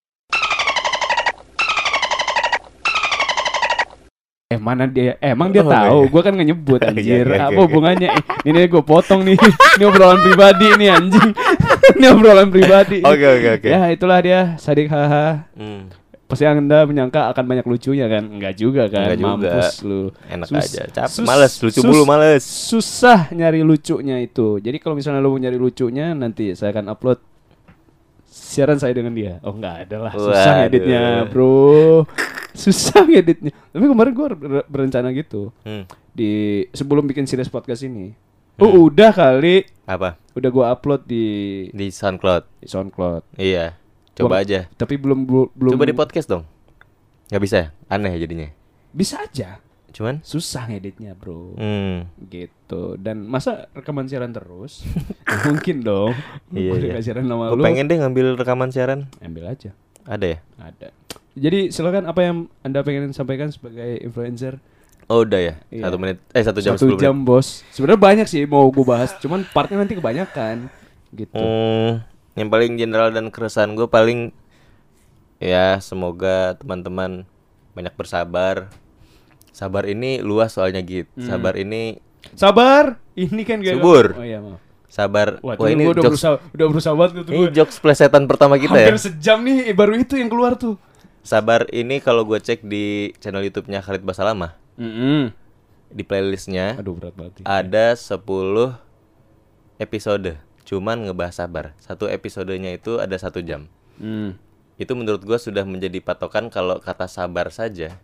Eh mana dia? eh, emang dia
Oh,
tahu?
iya.
Gue kan nggak nyebut
Iya, iya,
anjir.
iya,
Apa
iya.
hubungannya? Eh, ini gue potong nih. ini obrolan pribadi nih anjing. ini obrolan pribadi.
Oke, oke, oke.
Ya itulah dia Sadik Haha.
Hmm.
Pasti anda menyangka akan banyak lucunya kan? Enggak juga kan?
Nggak juga.
Mampus lu.
Enak
Sus-
aja. Cap,
sus-
males lucu
sus-
bulu males.
Susah nyari lucunya itu. Jadi kalau misalnya lu mau nyari lucunya nanti saya akan upload siaran saya dengan dia. Oh enggak ada lah. Susah
Waduh.
ngeditnya, Bro. Susah ngeditnya. Tapi kemarin gua ber- berencana gitu.
Hmm.
Di sebelum bikin series podcast ini, Oh udah kali,
Apa?
udah gua upload di,
Di SoundCloud.
di SoundCloud.
Iya. Coba
Gua-
aja.
Tapi belum belum belum-
Coba di podcast dong. Gak bisa ya? Aneh jadinya.
bisa aja.
Cuman
Susah ngeditnya bro.
hmm,
Gitu. Dan masa rekaman siaran terus? Ya, mungkin dong.
Iya,
Gua
iya.
nggak siaran sama
gue
lu.
pengen deh ngambil rekaman siaran.
Ambil aja.
Ada ya?
Ada. Jadi silakan apa yang anda pengen sampaikan sebagai influencer?
Oh udah ya.
Iya.
Satu menit. Eh satu jam
Satu
sepuluh menit.
jam bos. Sebenarnya banyak sih mau gue bahas. Cuman partnya nanti kebanyakan. Gitu.
Hmm, yang paling general dan keresahan gue paling ya semoga teman-teman banyak bersabar. Sabar ini luas soalnya git.
Hmm.
Sabar ini
Sabar. Ini kan gak
Subur.
Oh iya maaf.
sabar.
Wah,
Wah ini
gue udah
jokes
berusaha, udah berusaha banget tuh
ini
gue.
jokes plesetan pertama kita ya.
Hampir sejam nih eh, baru itu yang keluar tuh.
Sabar ini kalau gue cek di channel YouTube-nya Khalid Basalamah di playlistnya
Aduh berat banget. sih.
ada 10 episode cuman ngebahas sabar satu episodenya itu ada satu jam
Hmm.
itu menurut gua sudah menjadi patokan kalau kata sabar saja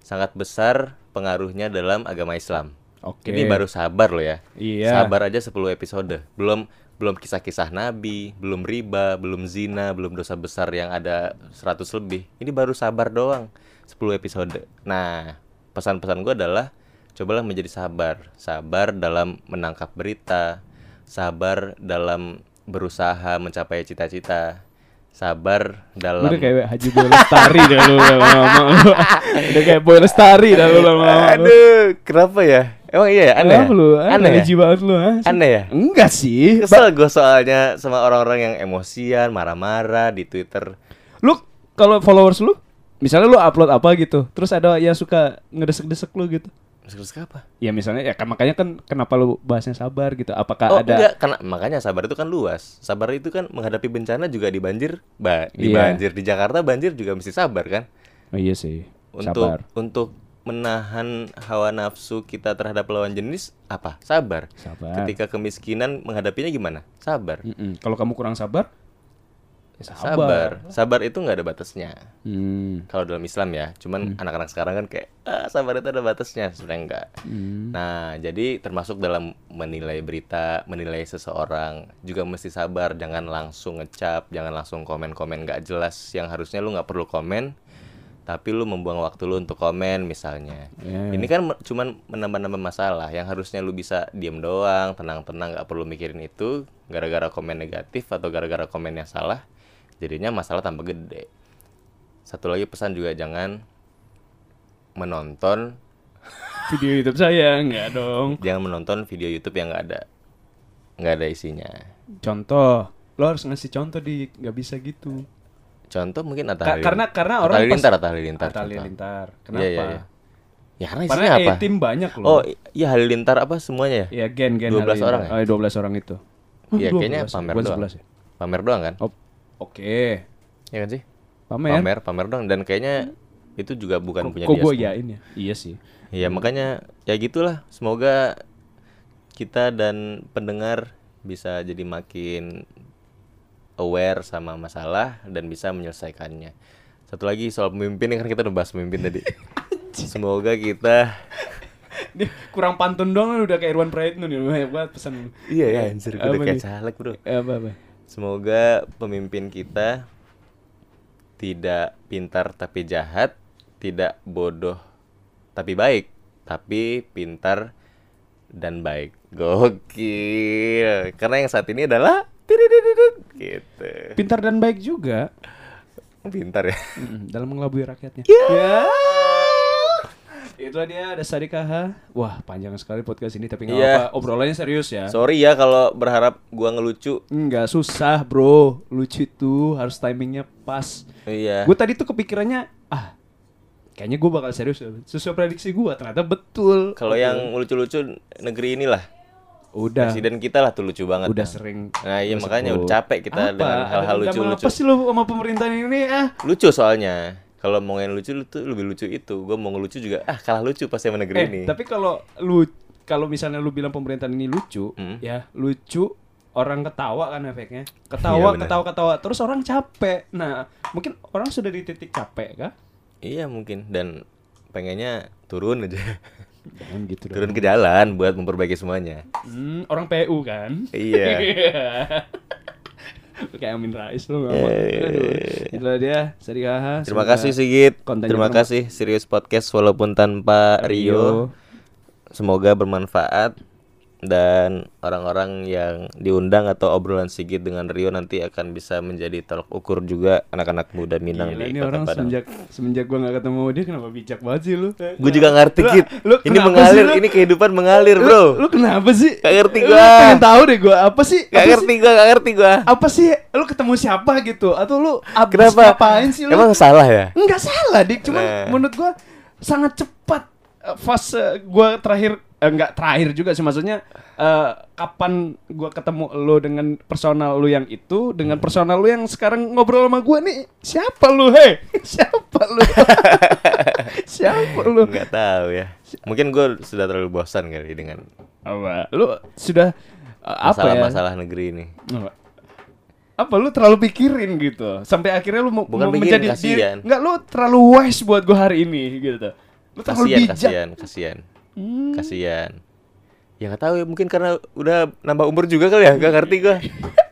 sangat besar pengaruhnya dalam agama Islam
Oke.
ini baru sabar loh ya
Iya.
sabar aja 10 episode belum belum kisah-kisah nabi belum riba belum zina belum dosa besar yang ada 100 lebih ini baru sabar doang 10 episode nah pesan-pesan gua adalah cobalah menjadi sabar sabar dalam menangkap berita sabar dalam berusaha mencapai cita-cita sabar dalam
Udah kayak Haji Boy Lestari dah lu lama-lama. lu. Udah kayak Boy Lestari dah lu lama-lama. lu.
aduh kenapa ya emang iya ya? aneh
Kenapa
ya?
lu?
aneh ya?
Aneh banget lu. ah.
aneh ya
Enggak sih.
Kesel gue soalnya sama orang-orang yang emosian, marah-marah di Twitter.
Lu kalau followers lu misalnya lu upload apa gitu, terus ada yang suka ngedesek-desek lu gitu.
Maksudnya apa?
Ya misalnya ya kan makanya kan kenapa lu bahasnya sabar gitu? Apakah
Oh
ada
enggak, karena makanya sabar itu kan luas. Sabar itu kan menghadapi bencana juga di banjir, ba- di
Iya.
banjir di Jakarta banjir juga mesti sabar kan?
Oh iya sih.
Untuk
sabar.
untuk menahan hawa nafsu kita terhadap lawan jenis apa? Sabar.
Sabar. Iya,
Ketika kemiskinan menghadapinya gimana? Sabar.
Mm-mm. Kalau kamu kurang sabar, ya
Sabar. Sabar itu nggak ada batasnya.
Hmm.
kalau dalam Islam ya cuman anak-anak sekarang kan kayak ah, sabar itu ada batasnya sebenarnya enggak
Hmm.
nah jadi termasuk dalam menilai berita menilai seseorang juga mesti sabar jangan langsung ngecap jangan langsung komen-komen nggak jelas yang harusnya lu nggak perlu komen tapi lu membuang waktu lu untuk komen misalnya
Ya.
ini kan me- cuman menambah-nambah masalah yang harusnya lu bisa diem doang tenang-tenang nggak perlu mikirin itu gara-gara komen negatif atau gara-gara komen yang salah jadinya masalah tambah gede satu lagi pesan juga jangan menonton
Video YouTube saya enggak dong.
jangan menonton video YouTube yang nggak ada nggak ada isinya
Contoh, lo harus ngasih contoh di nggak bisa gitu.
contoh mungkin Atta
Ka-
Halilintar.
karena karena
Atta
orang
Halilintar Atta Halilintar
Atta
contoh.
Halilintar.
Iya,
Kenapa?
iya, iya. ya karena
Karena
isinya apa
eh, tim banyak loh.
oh i- iya Halilintar apa semuanya ya
ya gen gen
12
Halilintar.
orang ya?
Oh, iya, 12 orang itu. Hah,
Iya,
12?
kayaknya pamer
Bukan
doang.
11 ya?
pamer doang kan
Oh, Oke.
Iya kan sih
Pamer.
pamer pamer doang dan kayaknya itu juga bukan punya
Kok
dia
gue
semua.
yain ya? Iya sih.
Ya makanya ya gitulah. Semoga kita dan pendengar bisa jadi makin aware sama masalah dan bisa menyelesaikannya. Satu lagi soal pemimpin ini kan kita udah bahas pemimpin tadi. Semoga kita
Ini kurang pantun doang lu udah kayak Irwan Praetno nih banyak banget pesan lu.
Iya ya anjir gue udah
Apa
kayak
nih?
caleg, Bro.
Eh, Apa apa?
Semoga pemimpin kita tidak pintar tapi jahat, tidak bodoh tapi baik, tapi pintar dan baik. Gokil. Karena yang saat ini adalah tiridididid, gitu.
Pintar dan baik juga
Pintar ya.
Mm-mm, dalam mengelabui rakyatnya.
Iya.
Ya. Itulah dia ada Sadikaha. Wah, panjang sekali podcast ini tapi nggak
Iya.
apa-apa. Obrolannya serius ya.
Sorry ya kalau berharap gua ngelucu.
Enggak susah, Bro. Lucu itu harus timingnya pas.
Iya.
Gue tadi tuh kepikirannya, ah, kayaknya gue bakal serius. Sesuai prediksi gue, ternyata betul.
Kalau yang lucu-lucu negeri inilah
udah
presiden kita lah tuh lucu banget.
udah sering
Nah, iya
udah
makanya
sebut.
capek kita
Apa?
dengan hal-hal
Ada dendam
lucu-lucu.
Apa sih lu sama pemerintahan ini ah?
lucu soalnya kalau mau yang lucu itu lebih lucu itu gue mau ngelucu juga ah kalah lucu pas yang negeri
Eh,
ini
tapi kalau lu kalau misalnya lu bilang pemerintahan ini lucu,
Hmm.
ya lucu orang ketawa kan efeknya.
Iya,
Ketawa,
benar.
ketawa, ketawa. Terus orang capek. Nah, mungkin orang sudah di titik capek kah?
iya mungkin dan pengennya turun aja
Jangan gitu dong.
turun ke jalan buat memperbaiki semuanya.
Hmm, orang PU kan?
Iya.
Lu Kayak Amin Rais lu ngomong.
Eh.
Aduh, Itulah dia, Sari Haha.
Terima
Semoga
kasih Sigit.
kontennya
Terima
bermanfaat.
kasih Serius Podcast walaupun tanpa Rio. Semoga bermanfaat dan orang-orang yang diundang atau obrolan Sigit dengan Rio nanti akan bisa menjadi tolok ukur juga anak-anak muda Minang
Gila
di
ini
Kota
orang
Padang.
semenjak semenjak gua gak ketemu dia kenapa bijak banget sih lu?
Gue juga gak ngerti
Lu-
Git.
lu
Ini
kenapa
mengalir,
sih lu?
ini kehidupan mengalir,
Lu-
Bro.
Lu, kenapa sih?
Gak ngerti
Lu
gua.
pengen tahu deh gua apa sih?
Gak
apa
ngerti
Sih?
gua, gak ngerti gua.
Apa sih? Lu ketemu siapa gitu? Atau lu abis
Kenapa?
ngapain sih lu?
Emang salah ya?
Enggak salah, Dik. Cuman
Nah.
menurut gua sangat cepat eh, fase gua terakhir eh, enggak terakhir juga sih maksudnya eh, kapan gua ketemu lo dengan personal lu yang itu dengan personal lu yang sekarang ngobrol sama gua nih siapa lu hei siapa lu siapa lu
Gak tahu ya. Mungkin gue sudah terlalu bosan kali dengan
apa lu sudah eh, apa ya
masalah-masalah negeri ini.
Apa? apa lu terlalu pikirin gitu sampai akhirnya lu mau
Bukan
mau
pikirin,
menjadi diri-
kasihan.
enggak lu terlalu wise buat gua hari ini gitu lu terlalu
Kasian,
bijak Hmm.
kasian, kasian. Kasian. Ya gak tahu ya, mungkin karena udah nambah umur juga kali ya, gak ngerti gue.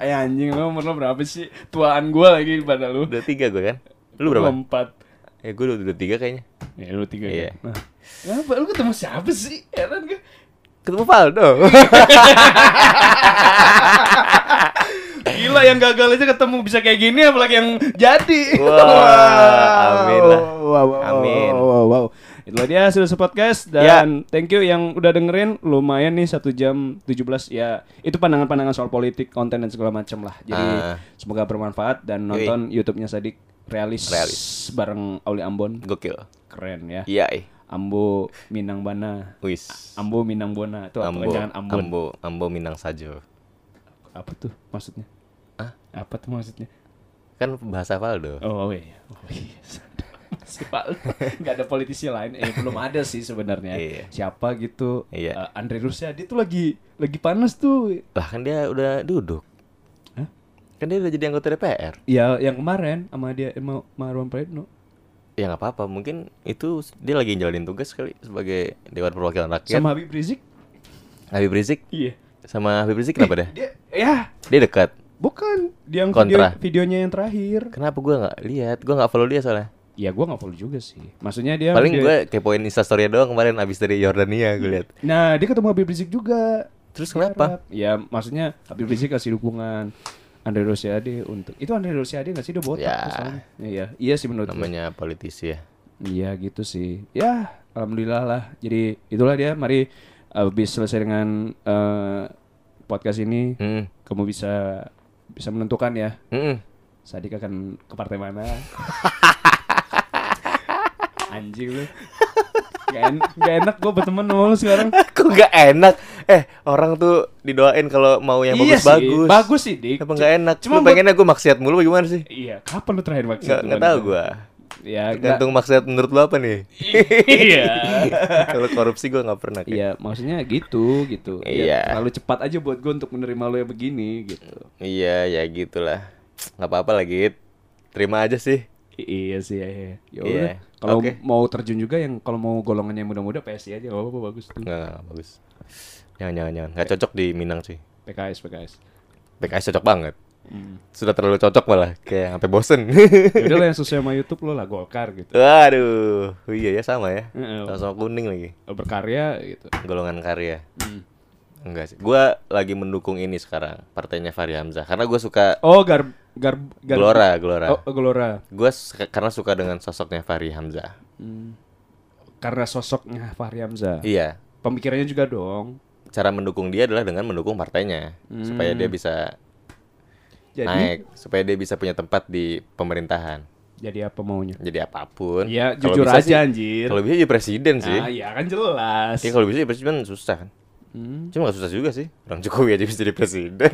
Ay Eh, anjing lu umur lu berapa sih? Tuaan gua lagi pada lu.
Udah tiga gue kan? Lu berapa?
Empat.
Ya gue udah, udah tiga kayaknya.
Ya lu tiga
Iya.
ya. Nah. Kenapa lu ketemu siapa sih? Heran gua.
Ketemu Faldo.
Gila yang gagal aja ketemu bisa kayak gini apalagi yang jadi.
Wah, amin lah.
Wow, wow,
Amin.
Wow, wow, wow. Itulah dia sudah podcast dan
Ya.
thank you yang udah dengerin lumayan nih satu jam 17 ya itu pandangan-pandangan soal politik konten dan segala macam lah
Ah.
jadi semoga bermanfaat dan
Yoi.
nonton YouTube-nya Sadik realis,
Realis.
bareng Auli Ambon
Gokil.
keren ya
Iya. eh.
Ambo Minang Bana.
Wis.
Ambo Minang Bona itu apa
Ambo,
jangan Ambon.
Ambo, Ambo Minang Sajo.
Apa tuh maksudnya?
Hah?
Apa tuh maksudnya?
Kan bahasa Faldo.
Oh, oh iya. Oh, iya. Si Pak, nggak ada politisi lain. Eh belum ada sih sebenarnya.
Iya.
Siapa gitu?
Iya.
Eh, Andre Rusyadi tuh lagi lagi panas tuh.
Lah kan dia udah duduk.
Hah?
Kan dia udah jadi anggota DPR.
Ya yang kemarin sama dia sama Marwan Prayitno.
Ya nggak apa-apa, mungkin itu dia lagi jalanin tugas kali sebagai Dewan Perwakilan Rakyat.
Sama Habib Rizik.
Habib Rizik
Iya.
sama Habib Rizik kenapa dah?
Dia ya
Dia dekat.
bukan dia yang
Kontra.
video- videonya yang terakhir.
Kenapa gua nggak lihat? Gua nggak follow dia soalnya.
Ya gua nggak follow juga sih. Maksudnya dia
Paling
dia-
gua kepoin instastory doang kemarin abis dari Yordania gue lihat.
Nah, dia ketemu Habib Rizik juga.
Terus
Di
kenapa?
Arab. Ya, maksudnya Habib Rizik kasih dukungan Andre Rosiade untuk itu Andre Rosiade nggak sih dia botak
Ya.
misalnya. Iya, iya sih menurut gue.
Namanya politisi ya.
Iya gitu sih. Ya, alhamdulillah lah. Jadi itulah dia. Mari habis selesai dengan eh, podcast ini,
Hmm.
kamu bisa bisa menentukan ya
Hmm.
Sadik akan ke partai mana? Anjing lu. Gak, en- gak enak gue berteman sama lu sekarang.
Kok nggak enak? Eh orang tuh didoain kalau mau yang
Iya
bagus-bagus.
sih, bagus sih, Dik.
Apa nggak enak?
Cuma
Cuma
buat-
pengennya gue maksiat mulu bagaimana sih?
Iya, kapan lu terakhir vaksin?
Nggak
tuh,
nggak
Bang?
tahu gua.
Ya, nggak-
Gantung maksiat menurut lu apa nih?
Iya.
Kalau korupsi gua nggak pernah. kayak.
Iya, maksudnya gitu, gitu. Ya,
Iya.
terlalu cepat aja buat gue untuk menerima lu yang begini, gitu.
Iya, ya gitulah. Nggak apa-apa lah, Git. Terima aja sih.
I- iya sih, iya. iya. Ya
Iya,
udah. Kalau
oke.
mau terjun juga yang kalau mau golongannya muda-muda PSI aja, gak apa-apa bagus tuh.
Nggak, nggak, bagus. Jangan, jangan, jangan. Nggak cocok di Minang sih.
PKS, PKS.
PKS cocok banget. Sudah terlalu cocok malah, kayak sampai bosen.
Hmm. Ya udah lah yang sesuai sama YouTube lo lah Golkar gitu.
Waduh, iya ya sama ya.
Heeh.
Sama-sama kuning lagi.
Berkarya gitu.
Golongan karya.
Mm.
Enggak sih. Gua lagi mendukung ini sekarang, partainya Fahri Hamzah. Karena gua suka
Oh, gar gar, gar
Gelora, Gelora.
Oh, Gelora.
Gua suka- karena suka dengan sosoknya Fahri Hamzah.
Karena sosoknya Fahri Hamzah.
Iya,
Pemikirannya juga dong.
cara mendukung dia adalah dengan mendukung partainya supaya dia bisa
Mm. Jadi
naik supaya dia bisa punya tempat di pemerintahan
jadi apa maunya?
jadi apapun
Iya,
Kalau
jujur
bisa
aja
sih-
anjir.
kalau bisa jadi presiden sih
Ah, iya kan jelas. Hmm,
ya kalau bisa jadi presiden susah kan cuma gak susah juga sih orang Jokowi aja bisa jadi presiden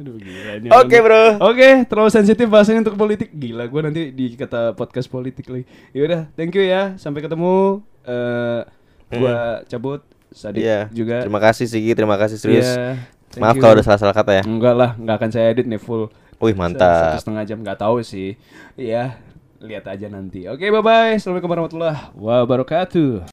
Aduh, gila ini
oke
orang-
bro
Oke, terlalu sensitif bahasanya untuk politik. Gila, gue nanti dikata podcast politik lagi. Yaudah, thank you ya. Sampai ketemu. eh gua cabut.
Hmm.
Sadik
Iya.
juga.
terima kasih Sigi terima kasih serius
Iya, thank
maaf
you.
kalau ada salah-salah kata ya
Enggak lah, enggak akan saya edit nih full.
wih
Satu
mantap
setengah jam nggak tahu sih. Iya, lihat aja nanti. Oke, bye bye. Assalamualaikum warahmatullahi wabarakatuh.